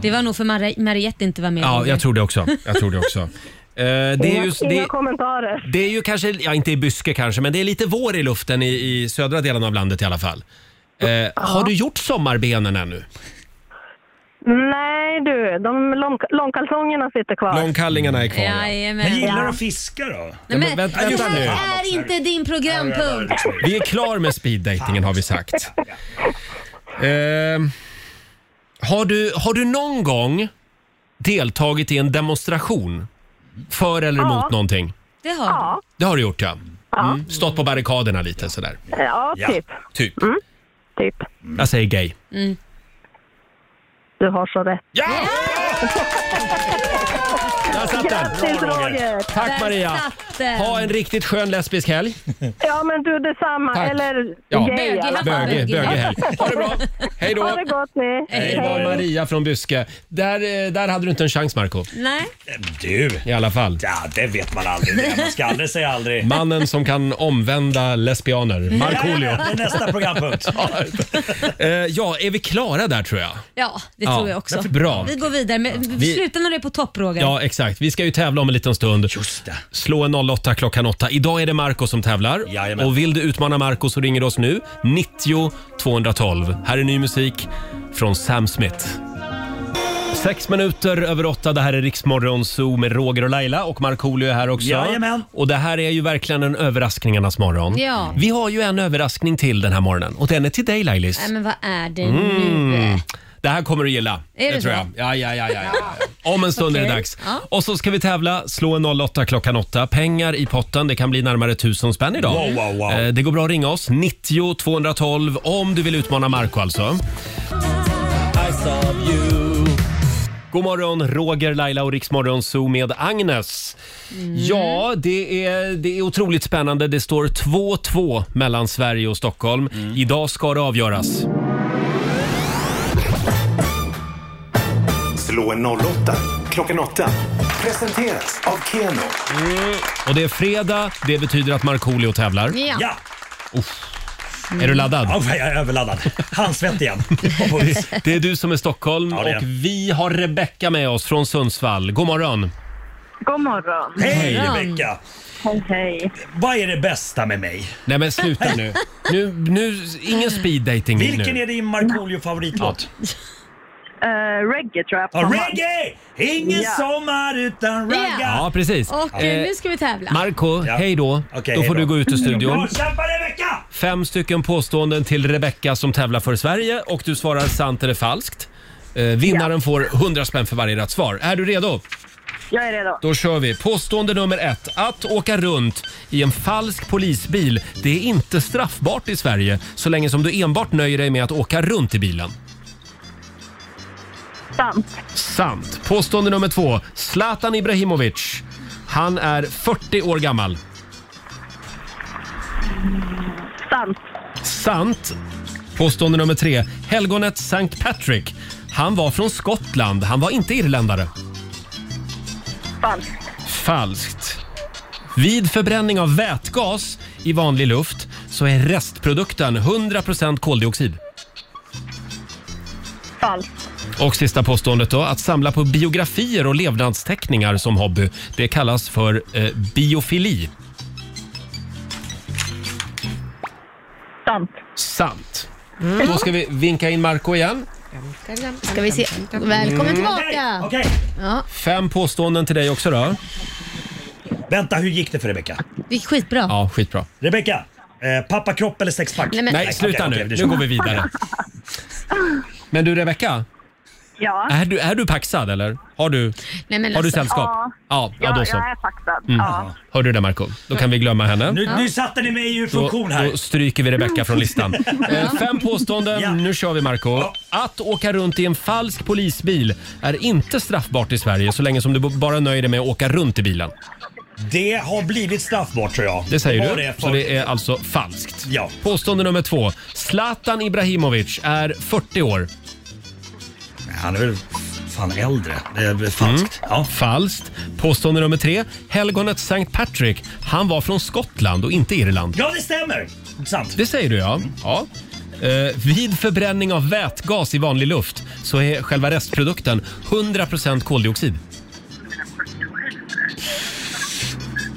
Det var nog för Mar- Mariette inte var med. Ja, jag tror det också. Jag tror det också. Eh, det, är Inga- ju, Inga det, kommentarer. det är ju kanske, ja inte i Byske kanske, men det är lite vår i luften i, i södra delen av landet i alla fall. Eh, Har du gjort sommarbenen ännu? Nej du, de lång, långkalsongerna sitter kvar. Långkallingarna är kvar. ja. Jajamän. Men gillar du Ja. att fiska då? Nej, men, Men vänta- det vänta nu. här är inte din programpunkt. Vi är klar med speeddatingen har vi sagt. Eh, har, du, har du någon gång deltagit i en demonstration för eller Ja. emot någonting? Det har Ja, Det har du gjort ja. Mm. Stått på barrikaderna lite sådär. ja, Ja. typ. Typ. typ. Jag säger gay. Du har så rätt. Ja! Där satt den! Grattis Roger. Roger! Tack Där Maria! satt den. Ha en riktigt skön lesbisk helg. Ja men du detsamma, Tack. eller Ja. gay i alla fall. Böge, bögig. böge helg. Ha det bra! Hej Ha då! det gott ni! Hej då Maria från Byske. Där, eh, där hade du inte en chans Marco Nej. Du, i alla fall. ja, det vet man aldrig. Det- Man ska aldrig säga aldrig. Mannen som kan omvända lesbianer, Mm. Markoolio. Ja, Det är nästa programpunkt. Eh, ja, är vi klara där tror jag? Ja, det Ja, tror jag också. därför- bra. Vi går vidare. Men Vi- Sluta när du är på topp, Roger. Ja, exakt. Vi ska ju tävla om en liten stund. Just det. Slå en 08 klockan 8. Idag är det Marco som tävlar. Jajamän. Och vill du utmana Marco så ringer du oss nu. 90 212. Här är ny musik från Sam Smith. Sex minuter över åtta. Det här är Riksmorgon Zoo med Roger och Laila och Markoolio är här också. Jajamän. Och det här är ju verkligen en överraskningarnas morgon. Ja. Vi har ju en överraskning till den här morgonen och den är till dig Lailis. Nej, men vad är det Mm. nu? Det här kommer du gilla. Är det tror så? jag. Ja, ja, ja, ja, ja. Om en stund är det Okej. dags. Ja. Och så ska vi tävla. Slå en 08 klockan 8. Pengar i potten. Det kan bli närmare 1000 spänn idag. Wow, wow, wow. Eh, Det går bra att ringa oss. 90 212 om du vill utmana Marco alltså. I saw you. God morgon, Roger, Laila och Riksmorgon Zoo med Agnes. Mm. Ja, det är, det är otroligt spännande. Det står 2-2 mellan Sverige och Stockholm. Mm. Idag ska det avgöras. Slå en 08 klockan 8. Presenteras av Keno. Mm. Och det är fredag, det betyder att Markoolio tävlar. Ja. Ja, Är du laddad? oh, jag är överladdad. Handsvett igen. Och puls. Det är du som är Stockholm Ja, det är och jag. vi har Rebecka med oss från Sundsvall. God morgon! God morgon! Hej Morgon. Rebecka! Hej hej! Vad är det bästa med mig? Nej men sluta nu. nu, nu ingen speed dating Vilken nu. är din Markoolio-favoritlåt? Uh, reggae tror jag. Ja, reggae! Ingen Ja. sommar utan ragga! Ja precis. Och eh, nu ska vi tävla. Marco, Ja. hej då. Okej, då hej får då. du gå ut ur Bra studion. kämpat Rebecka! Fem stycken påståenden till Rebecka som tävlar för Sverige och du svarar sant eller falskt. Eh, vinnaren får 100 spänn för varje rätt svar. Är du redo? Jag är redo. Då kör vi. Påstående nummer ett. Att åka runt i en falsk polisbil, det är inte straffbart i Sverige så länge som du enbart nöjer dig med att åka runt i bilen. Sant. Sant. Påstående nummer två. Zlatan Ibrahimovic. Han är 40 år gammal. Sant. Sant. Påstående nummer tre. Helgonet St. Patrick. Han var från Skottland. Han var inte irländare. Falskt. Falskt. Vid förbränning av vätgas i vanlig luft så är restprodukten 100% koldioxid. Falskt. Och sista påståendet då, att samla på biografier och levnadsteckningar som hobby, det kallas för eh, biofili. Sant. Sant. Då ska vi vinka in Marco igen. Ska vi se. Välkommen Okej, tillbaka. okej. Fem påståenden till dig också då. Vänta, hur gick det för Rebecka? Det gick skitbra. Ja, skitbra. Rebecka, eh, pappakropp eller sexpack? Nej, men- Nej, sluta okej, nu. okej, vi Nu kör. går vi vidare. Men du Rebecka, Ja. är du, är du paxad eller? Har du, Nej, men har du alltså. sällskap? Ja. Ja, ja då så. Mm. jag är faxad. Ja. Hör du det Marco? Då kan vi glömma henne. Nu, nu satte ni mig ur Då, funktion här. då stryker vi Rebecka från listan. Eh, Fem påståenden, Ja. nu kör vi Marco. Att åka runt i en falsk polisbil är inte straffbart i Sverige så länge som du b- bara nöjer dig med att åka runt i bilen. Det har blivit straffbart tror jag. Det säger Var du, Det så för... det är alltså falskt. Ja. Påstående nummer två. Zlatan Ibrahimovic är 40 år. Han är väl Fan, äldre. Det är falskt. Mm. Ja. Falskt. Påstående nummer tre. Helgonet St. Patrick, han var från Skottland och inte Irland. Ja, det stämmer! Sant. Det säger du ja. ja. Eh, vid förbränning av vätgas i vanlig luft så är själva restprodukten 100% koldioxid.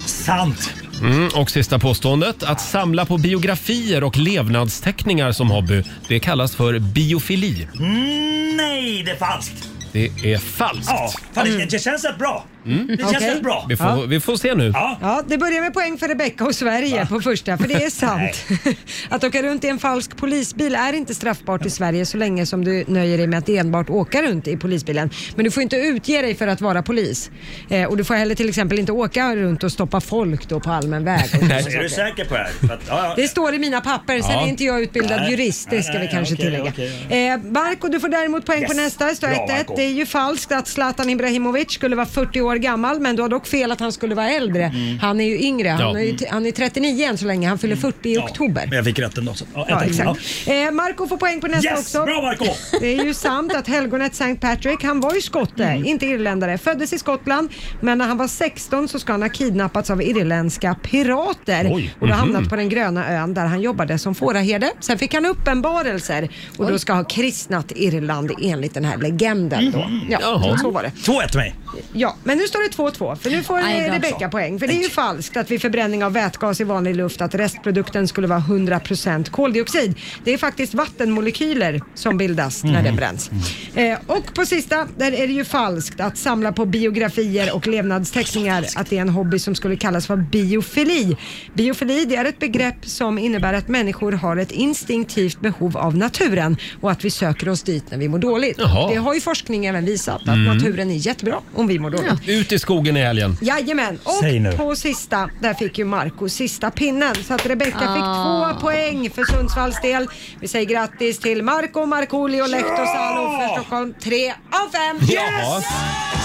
Sant. Mm, och sista påståendet. Att samla på biografier och levnadsteckningar som hobby, det kallas för biofili. Mm, nej, det är falskt. Det är falskt. Ja, fan, det, det känns rätt bra. Mm. Det känns Okej. rätt bra. Vi, får, Ja. vi får se nu. Ja. Ja, det börjar med poäng för Rebecca och Sverige på första, för det är sant. att åka runt i en falsk polisbil är inte straffbart i Sverige så länge som du nöjer dig med att enbart åka runt i polisbilen. Men du får inte utge dig för att vara polis. Eh, och du får heller till exempel inte åka runt och stoppa folk då på allmän väg. och sådana Är du saker. säker på det här? För att, ja, ja. Det står i mina papper, sen Ja. är inte jag utbildad Nej. jurist, det ska Nej, vi kanske okej, tillägga. okej, Eh, Barko, du får däremot poäng på Yes. nästa, det står Bra, 1-1. Barko. Det är ju falskt att Zlatan Ibrahimovic skulle vara 40 år gammal, men du har dock fel att han skulle vara äldre. Mm. Han är ju yngre, han, Ja. är, ju t- han är 39 än så länge, han fyller 40 i Mm. Ja, oktober. Men jag fick rätt ändå. Så. Ja, ett Ja, rätt. exakt. Ja. Eh, Marco får poäng på nästa Yes! också. Bra Marco! Det är ju sant att helgonet St. Patrick, han var ju skotte, Mm. inte irländare. Föddes i Skottland, men när han var 16 så ska han ha kidnappats av irländska pirater. Oj. Mhm. Och då hamnat på den gröna ön där han jobbade som fåraherde. Sen fick han uppenbarelser och då ska ha kristnat Irland enligt den här legenden då. Ja, Mm. Jaha. så var det. 2-1 till mig. Ja, men nu står det 2-2 för nu får Aj eh, då. Rebecca poäng. För det är ju falskt att vid förbränning av vätgas i vanlig luft att restprodukten skulle vara 100% koldioxid. Det är faktiskt vattenmolekyler som bildas när den bränns. Eh, och på sista, där är det ju falskt att samla på biografier och levnadsteckningar att det är en hobby som skulle kallas för biofili. Biofili, det är ett begrepp som innebär att människor har ett instinktivt behov av naturen och att vi söker oss dit när vi mår dåligt. Jaha. Det har ju forskning även visat att Mm. naturen är jättebra om vi mår dåligt. Ut i skogen i helgen. Jajamän, och Säg nu. på sista, där fick ju Marco sista pinnen. Så att Rebecca fick två poäng för Sundsvalls del. Vi säger grattis till Marco, Markoolio, Lehtosalo för Stockholm. Tre av fem. Jaha.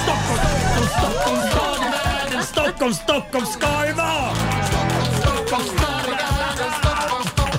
Stockholm, Stockholm, Stockholm, stad i världen. Stockholm, Stockholm ska det vara!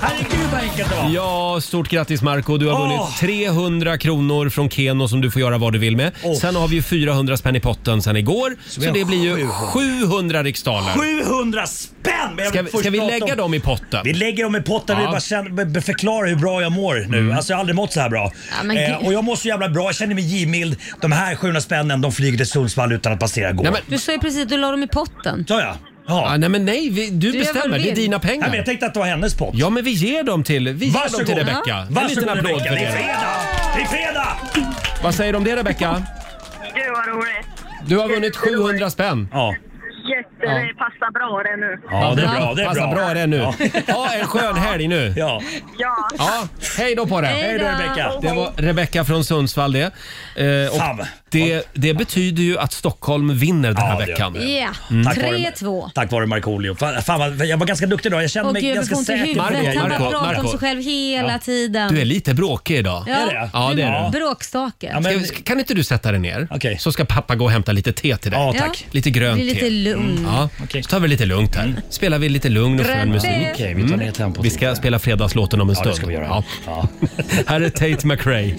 Herregud vad enkelt det var. Ja, stort grattis Marco. Du har Åh. vunnit 300 kronor från Keno som du får göra vad du vill med. Åh. Sen har vi ju 400 spänn i potten sen igår. Så, vi har det blir ju 700 riksdaler. 700 spänn! Men jag Ska, vill vi- först ska vi prata lägga om- dem i potten? Vi lägger dem i potten Ja. och bara känner, be- förklarar hur bra jag mår nu. Alltså jag har aldrig mått så här bra. Ja, men gud. eh, och jag mår så jävla bra, jag känner mig givmild. De här 700 spännen, de flyger till Sundsvall utan att passera gå. Nej men, Du sa ju precis att du la dem i potten. Så ja. Ja. ah, nej, men nej vi, du, Du gör vad bestämmer. du Det är vill. dina Nej, men pengar. jag tänkte att det var hennes pott. Ja, men vi ger dem till, vi ger dem till Varsågod. Rebecca. En liten Varsågod applåd Rebecka, för det är det. fredag! Det är fredag! Vad säger du om det Rebecca? Gud vad roligt. Du har vunnit 700 spänn. Ja, Jätte, det passar bra det nu. ja det är bra. Det är Passa bra. bra det nu. Ja. Ha en skön helg nu. Ja. Ja. Ja, hej då på dig. Hej då Rebecka. Det var Rebecka från Sundsvall det. Eh, Fan. och det, det betyder ju att Stockholm vinner den här Ja, Mm. det gör veckan. det. Ja, Tack vare- 3-2. Tack vare Markoolio. Fan, fan, vad- jag var ganska duktig idag. Jag kände Åh mig gud, jag ganska får ont i säker. på det jag huvudet. Han gjorde. Marco, bara pratar om Marco. sig själv hela tiden. Du är lite bråkig idag. Ja, det? Ja, det är är du. Bråkstake. Ja, men- Ska, kan inte du sätta dig ner? Okej. Så ska pappa gå och hämta lite te till dig. Ja, Ja. tack. Lite grönt Bli lite te. lugn. Ja, Okej. så tar vi lite lugnt Mm. här. Spelar vi lite lugn och skön Grönt musik. te. Okej, vi tar ner tempot Vi ska lite. spela fredagslåten om en Ja, stund. det ska vi göra. Ja. här är Tate McRae.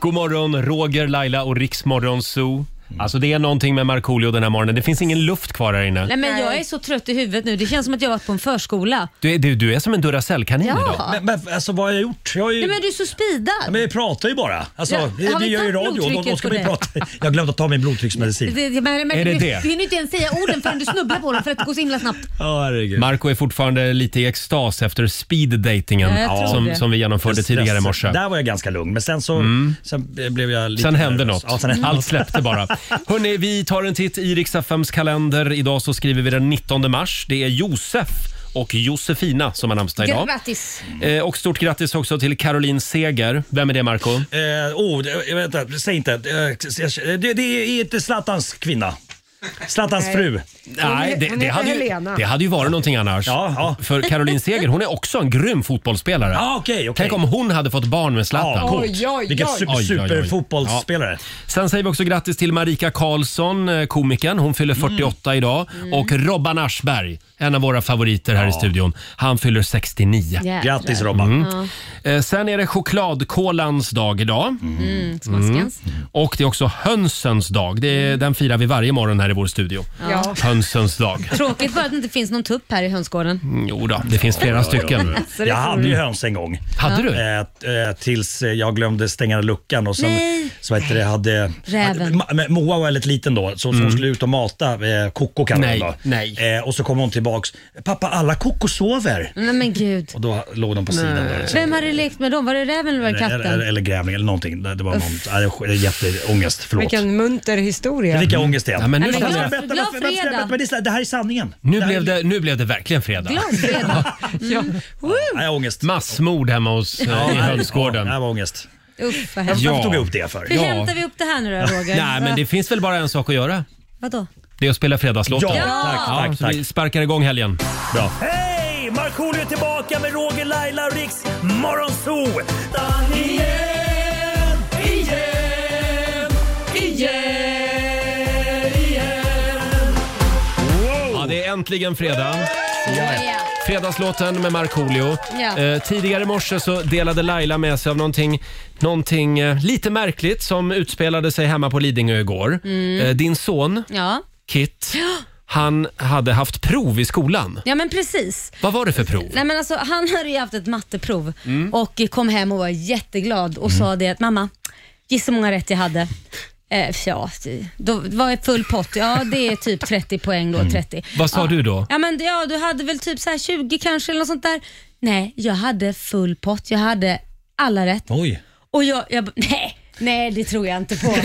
God morgon, Roger, Laila och Riksmorgon Zoo. Mm. Alltså det är någonting med Markoolio den här morgonen. Det finns ingen luft kvar här inne. Nej, men jag är så trött i huvudet nu. Det känns som att jag har varit på en förskola. Du är, du, du är som en Duracell-kanin idag. Men, men alltså vad har jag gjort? Jag har ju... Nej, men du är så Ja, speedad. Men vi pratar ju bara. Alltså, Ja, vi, har vi vi gör ju tagit radio. Då, då blodtrycket ska på vi det? prata. Jag glömde att ta min blodtrycksmedicin. Det, men, men, Är det du det? hinner inte ens säga orden förrän du snubblar på dem för att det går så himla snabbt. Ja, herregud. Marco är fortfarande lite i extas efter Ja, speed-datingen jag tror som, det. som vi genomförde Stress. tidigare i morse. Mm. Där var jag ganska lugn, men sen så sen blev jag lite Sen hände nervös. något. Ja, sen hände Allt något. släppte bara. Hörrni, vi tar en titt i Riks-FMs kalender. Idag så skriver vi den 19 mars. Det är Josef och Josefina som har namnsdag idag. Grattis! Eh, och stort grattis också till Caroline Seger. Vem är det Marco? Eh, oh, det- vänta, säg inte. Eh, Det, det är inte Zlatans kvinna. Zlatans Nej. fru. Nej, det, Hon det, heter hade ju, Helena. det hade ju varit någonting annars. För Caroline Seger hon är också en grym fotbollsspelare. Ja, okej, okej. Tänk om hon hade fått barn med Zlatan. Ja, coolt. Oj, oj, oj. Vilket super- Oj, oj, oj. superfotbollsspelare. Ja. Sen säger vi också grattis till Marika Karlsson, eh, komikern. Hon fyller Mm. 48 idag. Och Robban Aschberg, en av våra favoriter här i studion. Han fyller 69. Jädrar. Grattis, Robban. Eh, Sen är det chokladkolans dag idag. Mm, smaskens. Och det är också hönsens dag. Det Mm. är, Den firar vi varje morgon här i vår studio. Ja. Hönsens dag. Tråkigt bara att det inte finns någon tupp här i hönsgården. Mm, Jo då, det finns flera stycken. Så det Jag får hade vi- ju höns en gång. Hade du? Eh, eh, tills eh, jag glömde stänga luckan och sen Nej. så vet du, det hade... Räven. Ma- men Moa var väldigt liten då, så, så hon skulle ut och mata eh, Koko kallade Mm. Nej, hon då. nej. Eh, och så kom hon tillbaks. Pappa, alla Koko sover. Nej men gud. Och då låg de på sidan. Där, liksom. Vem hade lekt med dem? Var det räven eller var det eller, eller, katten? eller grävling eller någonting. Det, det var någon, Uff. nej, det är jätteångest, förlåt. Vilken munter historia. Vilka ångest det är. Ja, men nu, Nej, men känner jag- glad- glad fredag. men det är så här, Det här är sanningen. nu, här är- blev det, nu blev det verkligen fredag. Glad fredag. Nej, ångest. Massmord hemma hos, eh, i nej, hönsgården. Ja, det här var ångest. Uff, vad Varför hemskt. Ja. tog jag upp det för? Hur Ja. hämtar vi upp det här nu då Roger? Nej, men det finns väl bara en sak att göra. Vadå? Det är att spela fredagslåten. Ja, Ja. tack, tack, så tack. Oh. vi sparkar igång helgen. Bra. Hej! Markoolio är tillbaka med Roger, Laila och Riks Morgonzoo! Igen, igen, igen, igen. Ja, det är äntligen fredag. Ja. Fredagslåten med Markoolio. Ja. Eh, tidigare i morse så delade Laila med sig av någonting, någonting eh, lite märkligt som utspelade sig hemma på Lidingö igår. Mm. Eh, din son, Ja. Kit, han hade haft prov i skolan. ja, men precis. Vad var det för prov? Nej, men alltså, han hade ju haft ett matteprov Mm. och kom hem och var jätteglad och sa det att mamma, gissa hur många rätt jag hade. Eh, ja, då var jag full pott. Ja, det är typ 30 poäng då. 30. Mm. Vad sa ja. du då? Ja, men, ja, du hade väl typ så här 20 kanske eller något sånt där. Nej, jag hade full pott. Jag hade alla rätt. Oj. Och jag, jag bara, nej, nej det tror jag inte på. Det,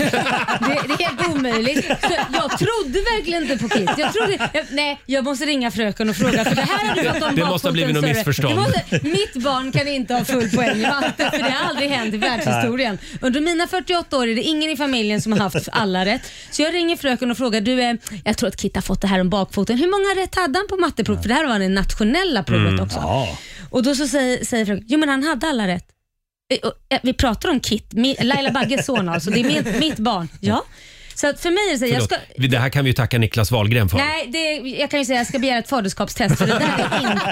det är helt omöjligt. Så jag trodde verkligen inte på Kit. Jag trodde, jag, nej, jag måste ringa fröken och fråga för det här har du varit om Det bakfoten måste ha blivit något större. missförstånd. Det måste, mitt barn kan inte ha full poäng i matte för det har aldrig hänt i världshistorien. Under mina 48 år är det ingen i familjen som har haft alla rätt. Så jag ringer fröken och frågar, du, eh, jag tror att Kit har fått det här om bakfoten. Hur många rätt hade han på matteprov? För det här var det nationella provet Mm. också. Ja. Och då så säger, säger fröken, jo men han hade alla rätt. Eh, och, eh, Vi pratar om Kit, mi- Laila Bagges son alltså, det är mitt, mitt barn. Ja. Så att för mig är det så här, jag Förlåt. ska... Vi- Det här kan vi ju tacka Niklas Wahlgren för. Nej, det, jag kan ju säga jag ska begära ett faderskapstest för det där är inte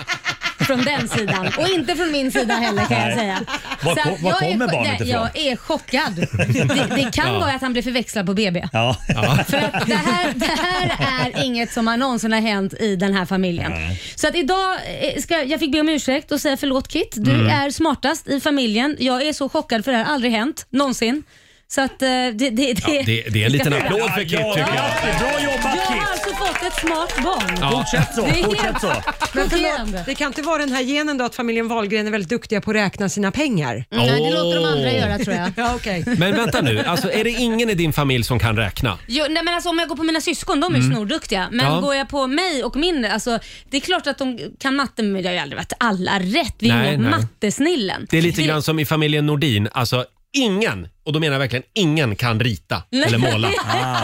från den sidan och inte från min sida heller kan jag Nej. säga. Var Så ko- att var jag är kommer cho- barnet nej, ifrån? Jag är chockad. Det, det kan vara att han blev förväxlad på BB. Ja. För att det här, det här är inget som har någonsin har hänt i den här familjen. Så att idag eh, ska jag- jag fick be om ursäkt och säga förlåt Kit. Du Mm. är smartast i familjen. Jag är så chockad för det här har aldrig hänt någonsin. Så att eh, det, det, det, Ja, det, det är en liten Jag ska- applåd för Kit Ja, tycker jag. ja, Bra jobbat Jag har Kit! alltså fått ett smart barn. Fortsätt så, Det är helt- fortsätt så. Men Chockerande. förlåt, det kan inte vara den här genen då att familjen Wahlgren är väldigt duktiga på att räkna sina pengar? Nej, det låter de andra göra tror jag. Ja, okej. Men vänta nu, alltså, är det ingen i din familj som kan räkna? Jo, nej, men alltså, om jag går på mina syskon, de är ju snorduktiga. Men Mm. Ja. går jag på mig och min, alltså, det är klart att de kan matte, men det har ju aldrig varit alla rätt. Vi är Nej, ju nej. mattesnillen. Det är lite grann som i familjen Nordin. Alltså ingen, och då menar jag verkligen ingen, kan rita eller måla. Ah.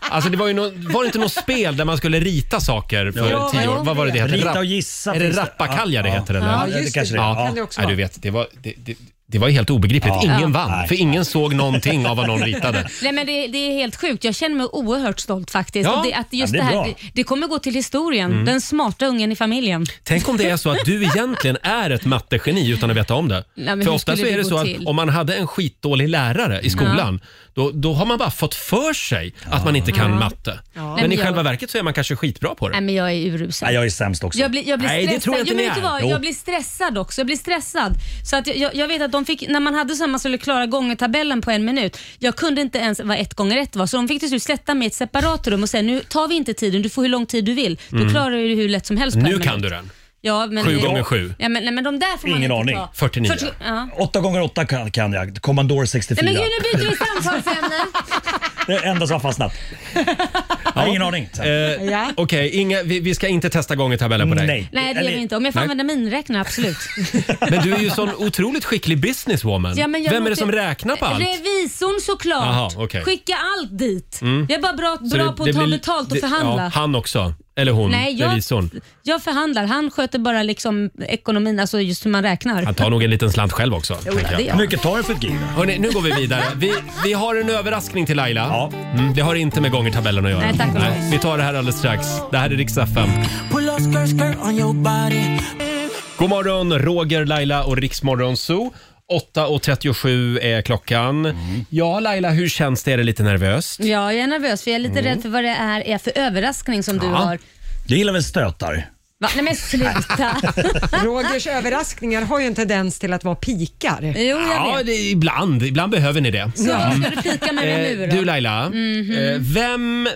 Alltså det var ju nå- var det inte något spel där man skulle rita saker för Jo, tio jo, år? Vad var det det hette? Rita och Rapp- gissa. Är det finns rappakalja det Ja, heter? ja. eller? Ja, Ja, just det kanske det. det är. Ja. Ja. Kan det också Nej, du vet, det var, det, det, det var ju helt obegripligt. Ingen vann, Nej. för ingen såg någonting av vad någon ritade. Nej, men det, det är helt sjukt. Jag känner mig oerhört stolt faktiskt. Ja. Och det, att just Ja, det, det är här, bra. det, det kommer gå till historien. Mm. Den smarta ungen i familjen. Tänk om det är så att du egentligen är ett mattegeni utan att veta om det. Nej, men för hur ofta så skulle är det det gå så att till? om man hade en skitdålig lärare i skolan, då, då har man bara fått för sig att man inte kan matte. Men men i jag- själva verket så är man kanske skitbra på det. Nej, men jag är urusel. Nej, jag är sämst också. Jag blir, jag blir Nej, det stressad. tror jag inte jo, men ni vet du är. vad? Jo. Jag blir stressad också. Jag blir stressad. Så att jag- jag, jag vet att de fick, när man hade så här, man skulle klara gångertabellen på en minut. Jag kunde inte ens vad ett gånger ett var, så de fick till slut sätta mig i ett separat rum och säga nu tar vi inte tiden, du får hur lång tid du vill. Då klarar du det hur lätt som helst på Mm. Nu en kan minut. du den. Ja, men, Sju gånger sju. Ja, men, nej, men de där får man Ingen inte aning. Ta. 49. 40, ja. Åtta gånger åtta kan, kan jag. Commodore Nej, 64. men gud, nu byter vi samtalsämne. Det är det enda som har fastnat. Jag har ingen aning. Eh, Ja. Okej, inga- vi, vi ska inte testa gångertabellen på dig. Nej, det gör vi inte. Om jag får Nej. använda miniräknare, absolut. Men du är ju sån otroligt skicklig businesswoman. Ja, men jag Vem är det måste- som räknar på allt? Revisorn såklart. Jaha, okej. Skicka allt dit. Mm. Jag är bara bra, Så bra på att ta blir- betalt och det- förhandla. Ja, han också. Eller hon, Nej, jag- revisorn. Jag förhandlar, han sköter bara liksom ekonomin, alltså just hur man räknar. Han tar nog en liten slant själv också. Jo, tänker det gör jag. han. Mycket tar jag för ett gig. Hörrni, nu går vi vidare. Vi, vi har en överraskning till Laila. Mm, det har inte med gångertabellen att göra. Nej, tack och lov. vi tar det här alldeles strax. Det här är riks FM. God morgon, Roger, Laila och Riksmorgon Zoo. 8.37 är klockan. Ja, Laila, hur känns det? Är det lite nervöst? Ja, jag är nervös för jag är lite Mm. rädd för vad det är, är för överraskning som du har. Du gillar väl stötar? Va? Nej men sluta. Rogers överraskningar har ju en tendens till att vara pikar. Jo, Mm, Ja, det, ibland. Ibland behöver ni det. Så, Mm. ska du pika med mig Eh, nu då? Du Laila, Mhm. eh, vem,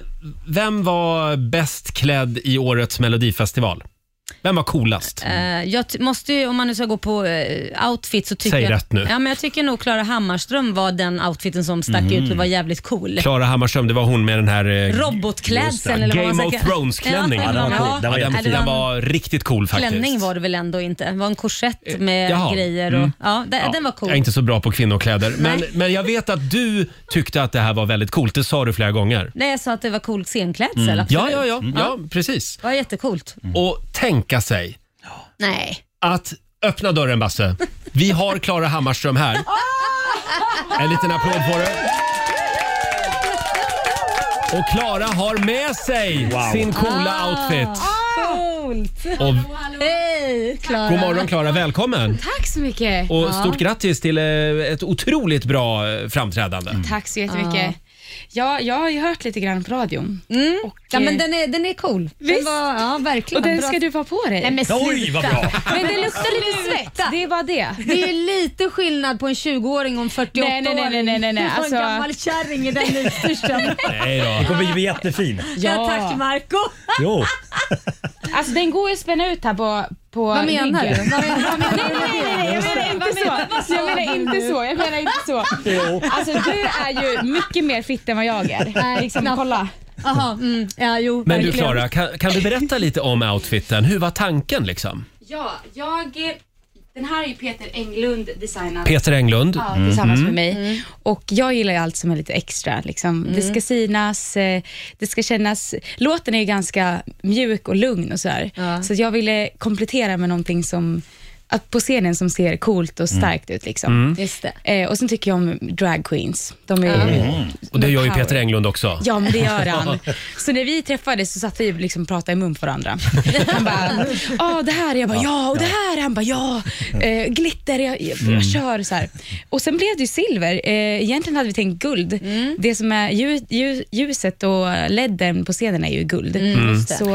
vem var bäst klädd i årets melodifestival? Vem var coolast? Eh, jag ty- måste ju, om man nu ska gå på eh, outfit så tycker Säg jag, rätt nu. Ja, men jag tycker nog Klara Hammarström var den outfiten som stack Mhm. ut och var jävligt cool. Klara Hammarström, det var hon med den här eh, Robotklädseln just det, eller vad man Game ska of kalla- Thrones-klänningen. Ja, den var cool. Den var den, jättefin. den var riktigt cool faktiskt. Eh, Klänning var det väl ändå inte? Det var en korsett med jaha. grejer. Och, Mm. ja, den, Ja, den var cool. Jag är inte så bra på kvinnokläder. Men, Nej. men jag vet att du tyckte att det här var väldigt coolt. Det sa du flera gånger. Nej, jag sa att det var cool scenklädsel. Mm. absolut. Ja, Mm. ja, ja, ja, precis. Det var jättecoolt. Och tänka sig Nej. att öppna dörren Basse. Vi har Klara Hammarström här. En liten applåd på det. Och Klara har med sig sin coola Ah. outfit. Coolt! Och- Hej Klara! God morgon Klara, välkommen! Tack så mycket! Och Ja. stort grattis till eh, ett otroligt bra eh, framträdande. Mm. Tack så jättemycket. Ja, jag har ju hört lite grann på radion. Mm. eh, Ja, men den är, den är cool. Den Visst? var, ja, verkligen. Och den Bra. ska du ha på dig. Nej, men sluta. Oj, vad bra. Men det luktar lite Sluta. svett, det är bara det. Det är ju lite skillnad på en 20-åring och en 48-åring. Nej, nej, nej, nej, nej, nej, nej. Du var Alltså- en gammal kärring i den utstyrseln. Nej då. Det kommer bli jättefin. Ja, tack Marco Jo. Alltså den går ju att spänna ut här på, på Vad menar du? ryggen. Vad menar- vad menar Nej, nej, nej, nej, jag menar Vad inte menar- vad så. sa Jag menar du inte nu? så. Jag menar inte så. Jo. Alltså du är ju mycket mer fitt än vad jag är. Nej, Liksom, knappt. kolla. Jaha, mm, ja, jo, Men du verkligen. Klara, kan, kan du berätta lite om outfiten? Hur var tanken liksom? Ja, jag... Den här är ju Peter Englund designad. Peter Englund. Ja, tillsammans Mm. Mm. med mig. Och jag gillar ju allt som är lite extra. Liksom. Det ska synas, eh, det ska kännas... Låten är ju ganska mjuk och lugn och sådär. Så jag ville komplettera med någonting som att på scenen som ser coolt och starkt ut. Liksom. Mm. Just Eh, och sen tycker jag om drag queens. De är Och det gör ju power. Peter Englund också. Ja, men det gör han. Så när vi träffades så satt vi och liksom pratade i mun på varandra. Han bara, ja det här, jag bara, ja, och det här, han bara, ja, eh, glitter, jag, jag, Mm. jag kör så här. Och sen blev det ju silver. Eh, egentligen hade vi tänkt guld. Mm. Det som är ljus, ljus, ljuset och ledden på scenen är ju guld. Mm, just det. Så,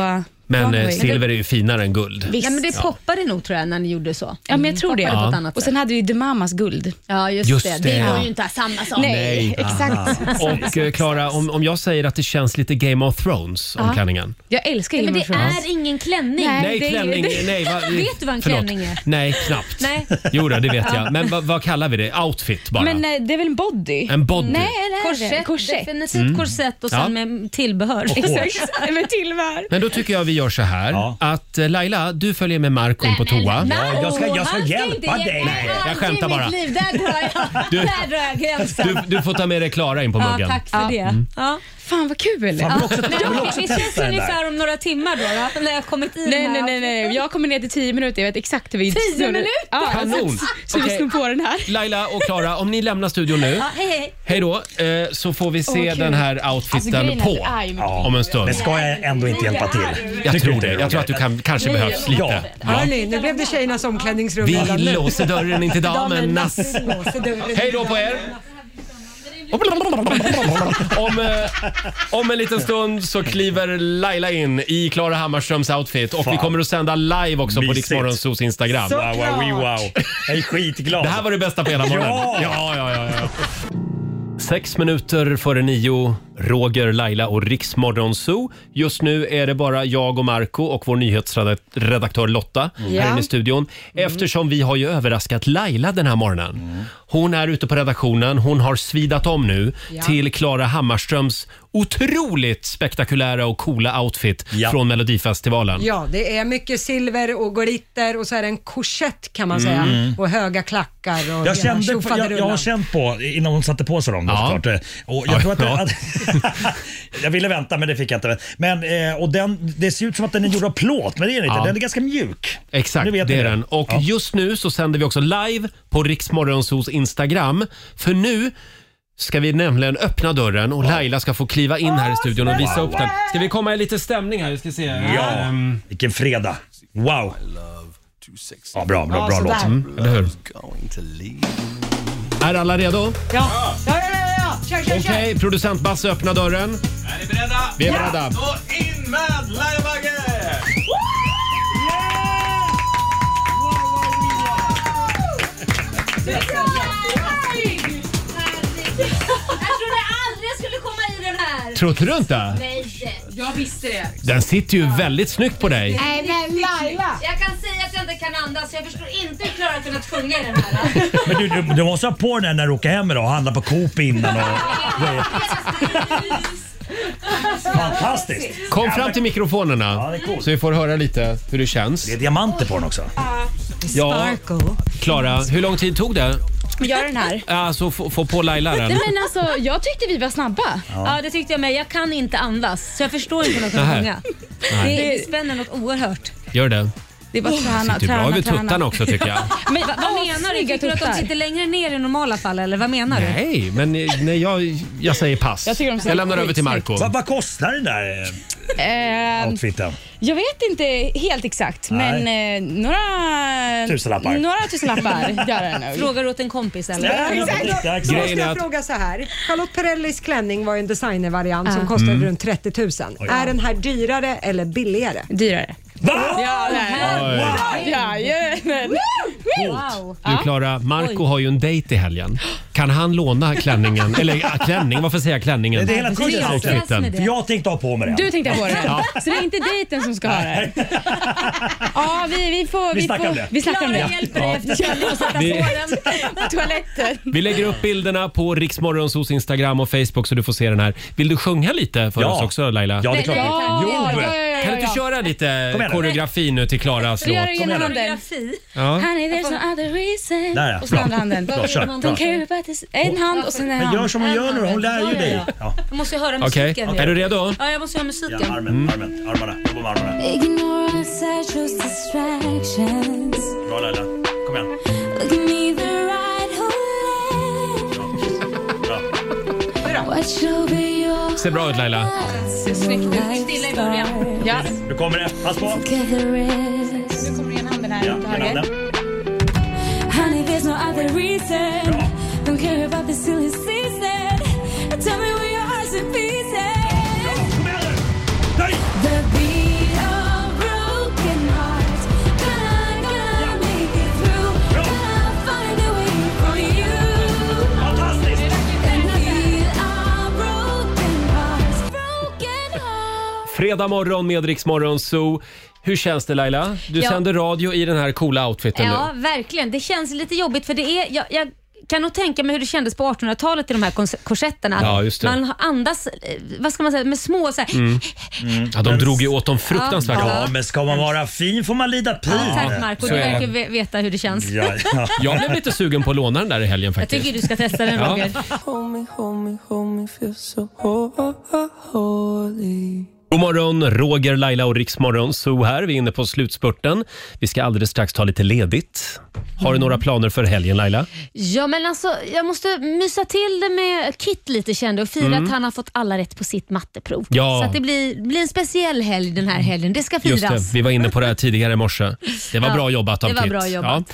Men eh, Broadway. silver är ju finare än guld. Visst. Ja, men det Ja. poppade nog tror jag när ni gjorde så. Ja, men jag tror det. Ja. på ett annat Och sen hade vi ju The Mamas guld. Ja, just, Just det. det. Det var Ja. ju inte samma sak. Nej, exakt. alltså, Och eh, Klara, om, om jag säger att det känns lite Game of Thrones om Ja. klänningen. Jag älskar Nej, Game men of det Thrones. är ingen klänning. Nej, klänning. Nej, va, Vet du vad en förlåt. klänning är? Nej, knappt. Nej. Jo då, det vet Ja. jag. Men va, vad kallar vi det? Outfit bara? Men eh, det är väl en body? En body. Nej, det är det. Korsett, korsett. definitivt Mm. korsett och Ja. sen med tillbehör. Och hår. Exakt, med tillbehör. Men då tycker jag vi gör så här att eh, Laila, du följer med Marco in på toa. Nej, han inte hjälpa ge- dig. Nej, jag aldrig i skämtar mitt bara. Liv. Där drar jag, Du- där drar jag gränsen. Du, du får ta med dig Klara in på muggen. Ja, tack för det. Ja. Fan vad kul! Alltså, Fan, Mm. jag vill också- jag Ja. vill Nej, också vi ses testa den där. ungefär om några timmar då, då när jag har kommit i Nej, den här nej, nej, nej. Jag kommer ner till 10 minuter. Jag vet exakt hur vi... 10 snurrar. minuter? Ja, Kanon! Så vi Okej. Alltså, snor på den här. Laila och Klara, om ni lämnar studion nu, Ja, hej, hej. hej då, eh, så får vi Åh, se vad kul. den här Alltså, outfiten grejen är att på det är ju mycket om en stund. Men ska jag ändå inte hjälpa till? Jag Tycker tror du det. Jag tror att du kan, kanske Nej, behövs ja. lite. Ja. Hörni, nu blev det tjejernas omklädningsrum Vi redan nu. låser dörren in till damernas. Låser dörren. Hej då på er! Om, eh, om en liten stund så kliver Laila in i Klara Hammarströms outfit och vi Fan. kommer att sända live också på Mysigt. Riksmorgonsos Instagram. Wow, wow, wow. Jag är skitglad. Det här var det bästa på hela morgonen. Ja! ja, ja, ja, ja. Sex minuter före nio, Roger, Laila och Riksmorgon Zoo. Just nu är det bara jag och Marco och vår nyhetsredaktör Lotta Mm. här inne Ja. Mm. i studion. Eftersom vi har ju överraskat Laila den här morgonen. Hon är ute på redaktionen, hon har svidat om nu Ja. till Klara Hammarströms otroligt spektakulära och coola outfit från Melodifestivalen. Ja, det är mycket silver och glitter och så är det en korsett kan man säga Mm. och höga klackar och Jag, kände, på- jag, jag har tjofaderullan. känt på innan hon satte på sig dem. Då, såklart. Eh, Och jag, tror att, Ja. att, jag ville vänta men det fick jag inte. Men, eh, och den, det ser ut som att den är gjord av plåt men det är den inte. Ja. Den är ganska mjuk. Exakt, Nu vet det ni är det. den. Och just nu så sänder vi också live på Riksmorgonsos Instagram. För nu ska vi nämligen öppna dörren och Laila ska få kliva in här i studion och visa upp den. Ska vi komma i lite stämning här? Vi ska se. Ehm, Ja, vilken fredag. Wow. Ja, bra, bra, Ja, bra sådär. låt. Mm, eller hur? Är alla redo? Ja, ja, ja, ja, ja. Kör, Okej, kör, kör. producent Basse öppna dörren. Är ni beredda? Vi är beredda. Då in med Laila Bagge! Jag trodde aldrig jag skulle komma i den här. Trodde du inte? Nej, jag visste det. Den sitter ju väldigt snyggt på dig. Nej men Laila! Jag kan säga att jag inte kan andas jag förstår inte hur Klara kunnat sjunga i den här. Men du, du, du måste ha på den här när du åker hem idag och handla på Coop innan. Och, Fantastiskt. Kom fram till mikrofonerna så vi får höra lite hur det känns. Det är diamanter på den också. Ja, Klara, hur lång tid tog det? Gör den här. Alltså få, få på Laila den. Nej, men alltså, jag tyckte vi var snabba. Ja. det tyckte jag med. Jag kan inte andas så jag förstår inte hur de Nähä. kan sjunga. Nej. Det, det spänner något oerhört. Gör det. Det är bara träna, Sitter bra träna, över träna. tuttarna också tycker jag. Men vad, vad menar du? snygga Tycker du att tuttar. de sitter längre ner i normala fall eller vad menar du? Nej, men eh, nej, jag, jag säger pass. Jag tycker de ser lämnar över till skitsnyggt. Marco Vad- kostar den där Eh, outfiten? jag vet inte helt exakt, Nej. men eh, några Tusenlappar. Några tusenlappar gör det nog. Frågar åt en kompis eller? Ja, exakt. Då måste Grejen är jag att- fråga så här. Charlotte Perrellis klänning var ju en designervariant Ja. som kostade Mm. runt 30 000. Oj. Är den här dyrare eller billigare? Dyrare. Va? Ja, Oj. nej. Jajamän. Wow. Du Klara, Marco Oj. har ju en dejt i helgen. Kan han låna klänningen? Eller ja, klänning, varför säger jag klänningen? Det är hela tiden Outfiten. outfiten. För jag tänkte ha på mig den. Du tänkte på det? Ja. Så det är inte dejten som ska ha det? Ja, vi, vi får... Vi snackar får, om det. Vi snackar om det. Klara hjälper dig Ja. efter att sätta Vi- såren. Toaletten. Vi lägger upp bilderna på Riksmorgonsos Instagram och Facebook så du får se den här. Vill du sjunga lite för Ja. oss också Laila? Ja, det är klart. Ja, Jo. ja, ja, ja, Kan du ja. inte köra lite Kom igen nu. koreografi nu till Vi Klaras låt? gör det genom handen. Ja. Honey, there's no other reason. Där, ja. Och så Bra. andra handen. Bra, kör. Don't Bra. care about this. En hand och sen en hand. Men gör som hon gör nu, hon lär ju Ja, ja, dig. ja. Ja. Jag måste ju höra Okej. musiken. nu. Är du redo? Ja, jag måste höra musiken. Ja, Mm. armen, armen, armarna. Jobba med armarna. Ignore the sexual distractions. Bra Laila. Kom igen. Look at me the right way. Watch over your Ser bra ut Laila. eyes. Snyggt ut. Stilla i början. Ja. Nu kommer det. Pass på. Forget the rest. Nu kommer ena handen här. Ja, ena handen. Honey, there's no other reason. Don't care about the silly season. Tell me where your heart's in pieces. The beat of broken hearts. Gonna, gonna make it through. Gonna find a way for you. The beat of broken hearts. Broken Fredag morgon med Riksmorgon Zoo. Hur känns det Laila? Du Ja. sänder radio i den här coola outfiten Ja, nu. verkligen. Det känns lite jobbigt för det är... Jag, jag kan nog tänka mig hur det kändes på 1800-talet i de här kons- korsetterna. Ja, just det. Man andas, eh, vad ska man säga, med små så här, Mm. Ja, de drog ju åt dem fruktansvärt Ja. hårt. Ja, men ska man vara fin får man lida pin. Tack Marco, du verkar ve- veta hur det känns. Jag blev lite sugen på att låna den där i helgen Jag faktiskt. tycker du ska testa den Ja. Roger. Homie, homie, homie, feel so holy. God morgon, Roger, Laila och Riksmorgon Zoo här. Vi är inne på slutspurten. Vi ska alldeles strax ta lite ledigt. Har du Mm. några planer för helgen Laila? Ja, men alltså, jag måste mysa till det med Kit lite kände och fira Mm. att han har fått alla rätt på sitt matteprov. Ja. Så att det blir, blir en speciell helg den här helgen. Det ska firas. Just det, vi var inne på det här tidigare i morse. Det var Ja, bra jobbat av det var Kit. bra jobbat.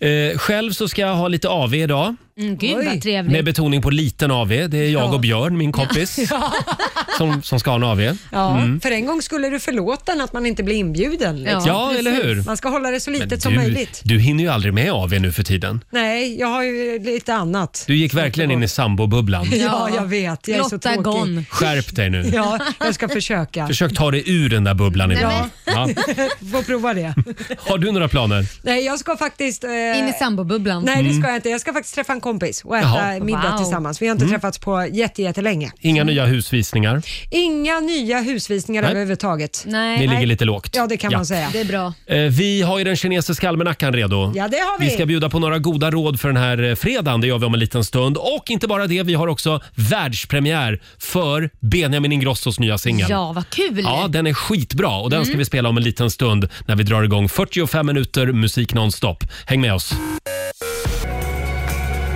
Ja. Eh, själv så ska jag ha lite AV idag. Mm, gud vad Med trevligt. betoning på liten AV. Det är jag och Björn, min kompis. Ja. som, som ska ha en AV. Ja, Mm. för en gång skulle du förlåta en att man inte blir inbjuden. liksom. Ja, eller hur? Man ska hålla det så litet som Du, möjligt. du hinner ju aldrig med AV nu för tiden. Nej, jag har ju lite annat. Du gick verkligen in i sambobubblan. Ja, jag vet. Jag är så Lotta tråkig. Gone. Skärp dig nu. Ja, jag ska försöka. Försök ta dig ur den där bubblan Nej, ibland. Ja. men- Får prova det. Har du några planer? Nej, jag ska faktiskt... In i sambobubblan. Eh, Nej, det Mm. ska jag inte. Jag ska faktiskt träffa en kompis och äta Jaha. middag Wow. tillsammans. Vi har inte Mm. träffats på jätte- jättelänge. Inga nya husvisningar? Inga nya husvisningar Nej. överhuvudtaget. Nej. Ni ligger lite lågt. Ja, det kan Ja. man säga. Det är bra. Eh, Vi har ju den kinesiska almanackan redo. Ja, det har vi. Vi ska bjuda på några goda råd för den här eh, fredagen. Det gör vi om en liten stund. Och inte bara det, vi har också världspremiär för Benjamin Ingrossos nya singel. Ja, vad kul! Ja, den är skitbra och den ska Mm. vi spela om en liten stund när vi drar igång 45 minuter musik nonstop. Häng med oss!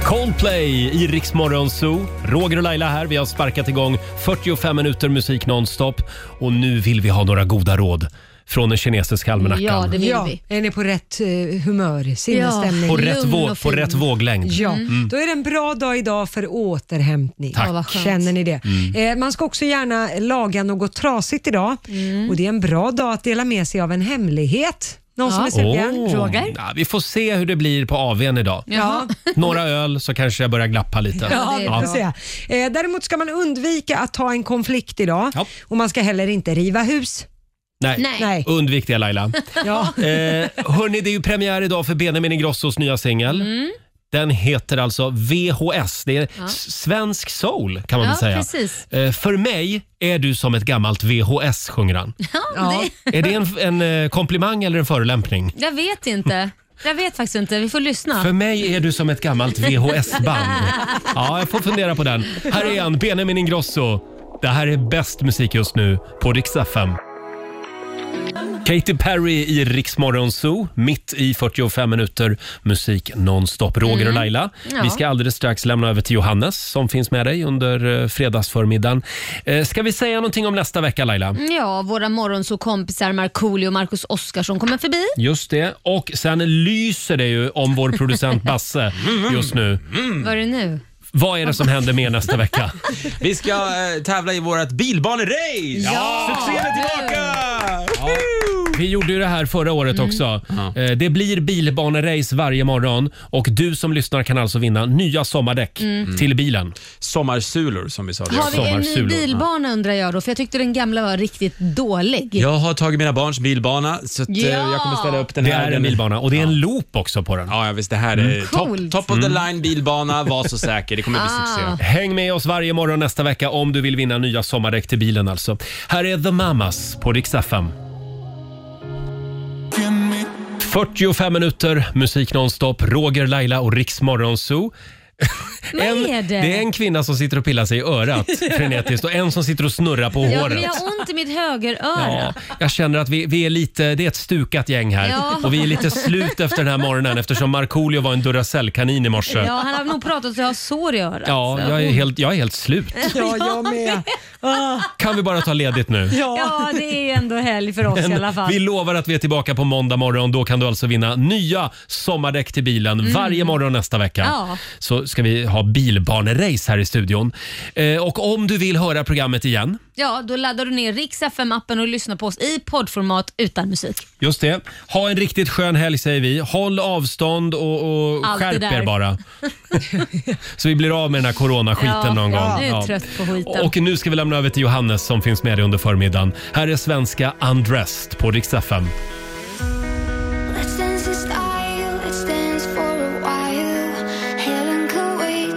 Coldplay i Rix Morgon Zoo. Roger och Laila här. Vi har sparkat igång 45 minuter musik nonstop och nu vill vi ha några goda råd från den kinesiska almanackan. Ja, Är ni på rätt eh, humör, sinnesstämning? På rätt, våg, på rätt våglängd. Ja, Mm. då är det en bra dag idag för återhämtning. Tack. Ja, vad skönt. Känner ni det? Mm. Eh, man ska också gärna laga något trasigt idag Mm. och det är en bra dag att dela med sig av en hemlighet. Någon som är sugen? Åh. Ja, vi får se hur det blir på AWn idag. Ja. Några öl så kanske jag börjar glappa lite. Ja, vi får se. Eh, däremot ska man undvika att ta en konflikt idag och man ska heller inte riva hus. Nej. Nej. undvik det Laila. Ja. Eh, hörni, det är ju premiär idag för Benjamin Ingrossos nya singel. Den heter alltså VHS. Det är Mm. Ja. s- svensk soul kan man Ja, väl säga. precis. Eh, för mig är du som ett gammalt VHS, sjunger han. Ja. Är det en, en eh, komplimang eller en förolämpning? Jag vet inte. Jag vet faktiskt inte. Vi får lyssna. För mig är du som ett gammalt VHS-band. Ja, jag får fundera på den. Här är han, Benjamin Ingrosso. Det här är bäst musik just nu på Rix FM. Katy Perry i Rix Morgon Zoo, mitt i 45 minuter musik nonstop. Roger och Mm. Laila, Ja. vi ska alldeles strax lämna över till Johannes som finns med dig under eh, fredagsförmiddagen. Eh, Ska vi säga någonting om nästa vecka Laila? Ja, våra morgonsåkompisar Markoolio och Marcus Oskarsson kommer förbi. Just det. Och sen lyser det ju om vår producent Basse just nu. Vad är det nu? Vad är det som händer mer nästa vecka? Vi ska eh, tävla i vårt bilbanerace! Ja! Succén är tillbaka! Vi gjorde ju det här förra året också. Eh, Det blir bilbanerace varje morgon och du som lyssnar kan alltså vinna nya sommardäck Mm. till bilen. Sommarsulor som vi sa. Har vi en ny bilbana undrar jag då? För jag tyckte den gamla var riktigt dålig. Jag har tagit mina barns bilbana så att, eh, Ja! jag kommer ställa upp den Det här. är en bilbana och det är en loop också på den. Ja, ja visst. Det här är Mm. Eh, top, Coolt. top of the Mm. line bilbana. Var så säker. Det kommer bli Ah. succé. Häng med oss varje morgon nästa vecka om du vill vinna nya sommardäck till bilen alltså. Här är The Mamas på Rix FM. 45 minuter musik nonstop, Roger, Laila och Rix Morgonzoo. Vad är det? Det är en kvinna som sitter och pillar sig i örat frenetiskt och en som sitter och snurrar på Ja, men håret. jag har ont i mitt högeröra. Ja, jag känner att vi, vi är lite, det är ett stukat gäng här Ja. och vi är lite slut efter den här morgonen eftersom Markoolio var en Duracell-kanin i morse. Ja, han har nog pratat så jag har sår i örat. Ja, så. jag är helt, jag är helt slut. Ja, jag med. Ah. Kan vi bara ta ledigt nu? Ja. det är ju ändå helg för oss i alla Men fall. vi lovar att vi är tillbaka på måndag morgon. Då kan du alltså vinna nya sommardäck till bilen Mm. varje morgon nästa vecka. Ja. Så ska vi ha bilbanerace här i studion. Eh, och om du vill höra programmet igen, Ja, då laddar du ner Rix FM-appen och lyssnar på oss i poddformat utan musik. just det. Ha en riktigt skön helg säger vi. Håll avstånd och, och Allt det skärp där. er bara. Så vi blir av med den här coronaskiten någon gång. Jag är Ja. trött på skiten. Och nu ska vi lämna över till Johannes som finns med dig under förmiddagen. Här är svenska Undressed på Rix FM. Let's dance this style, let's dance for a while. Heaven could wait.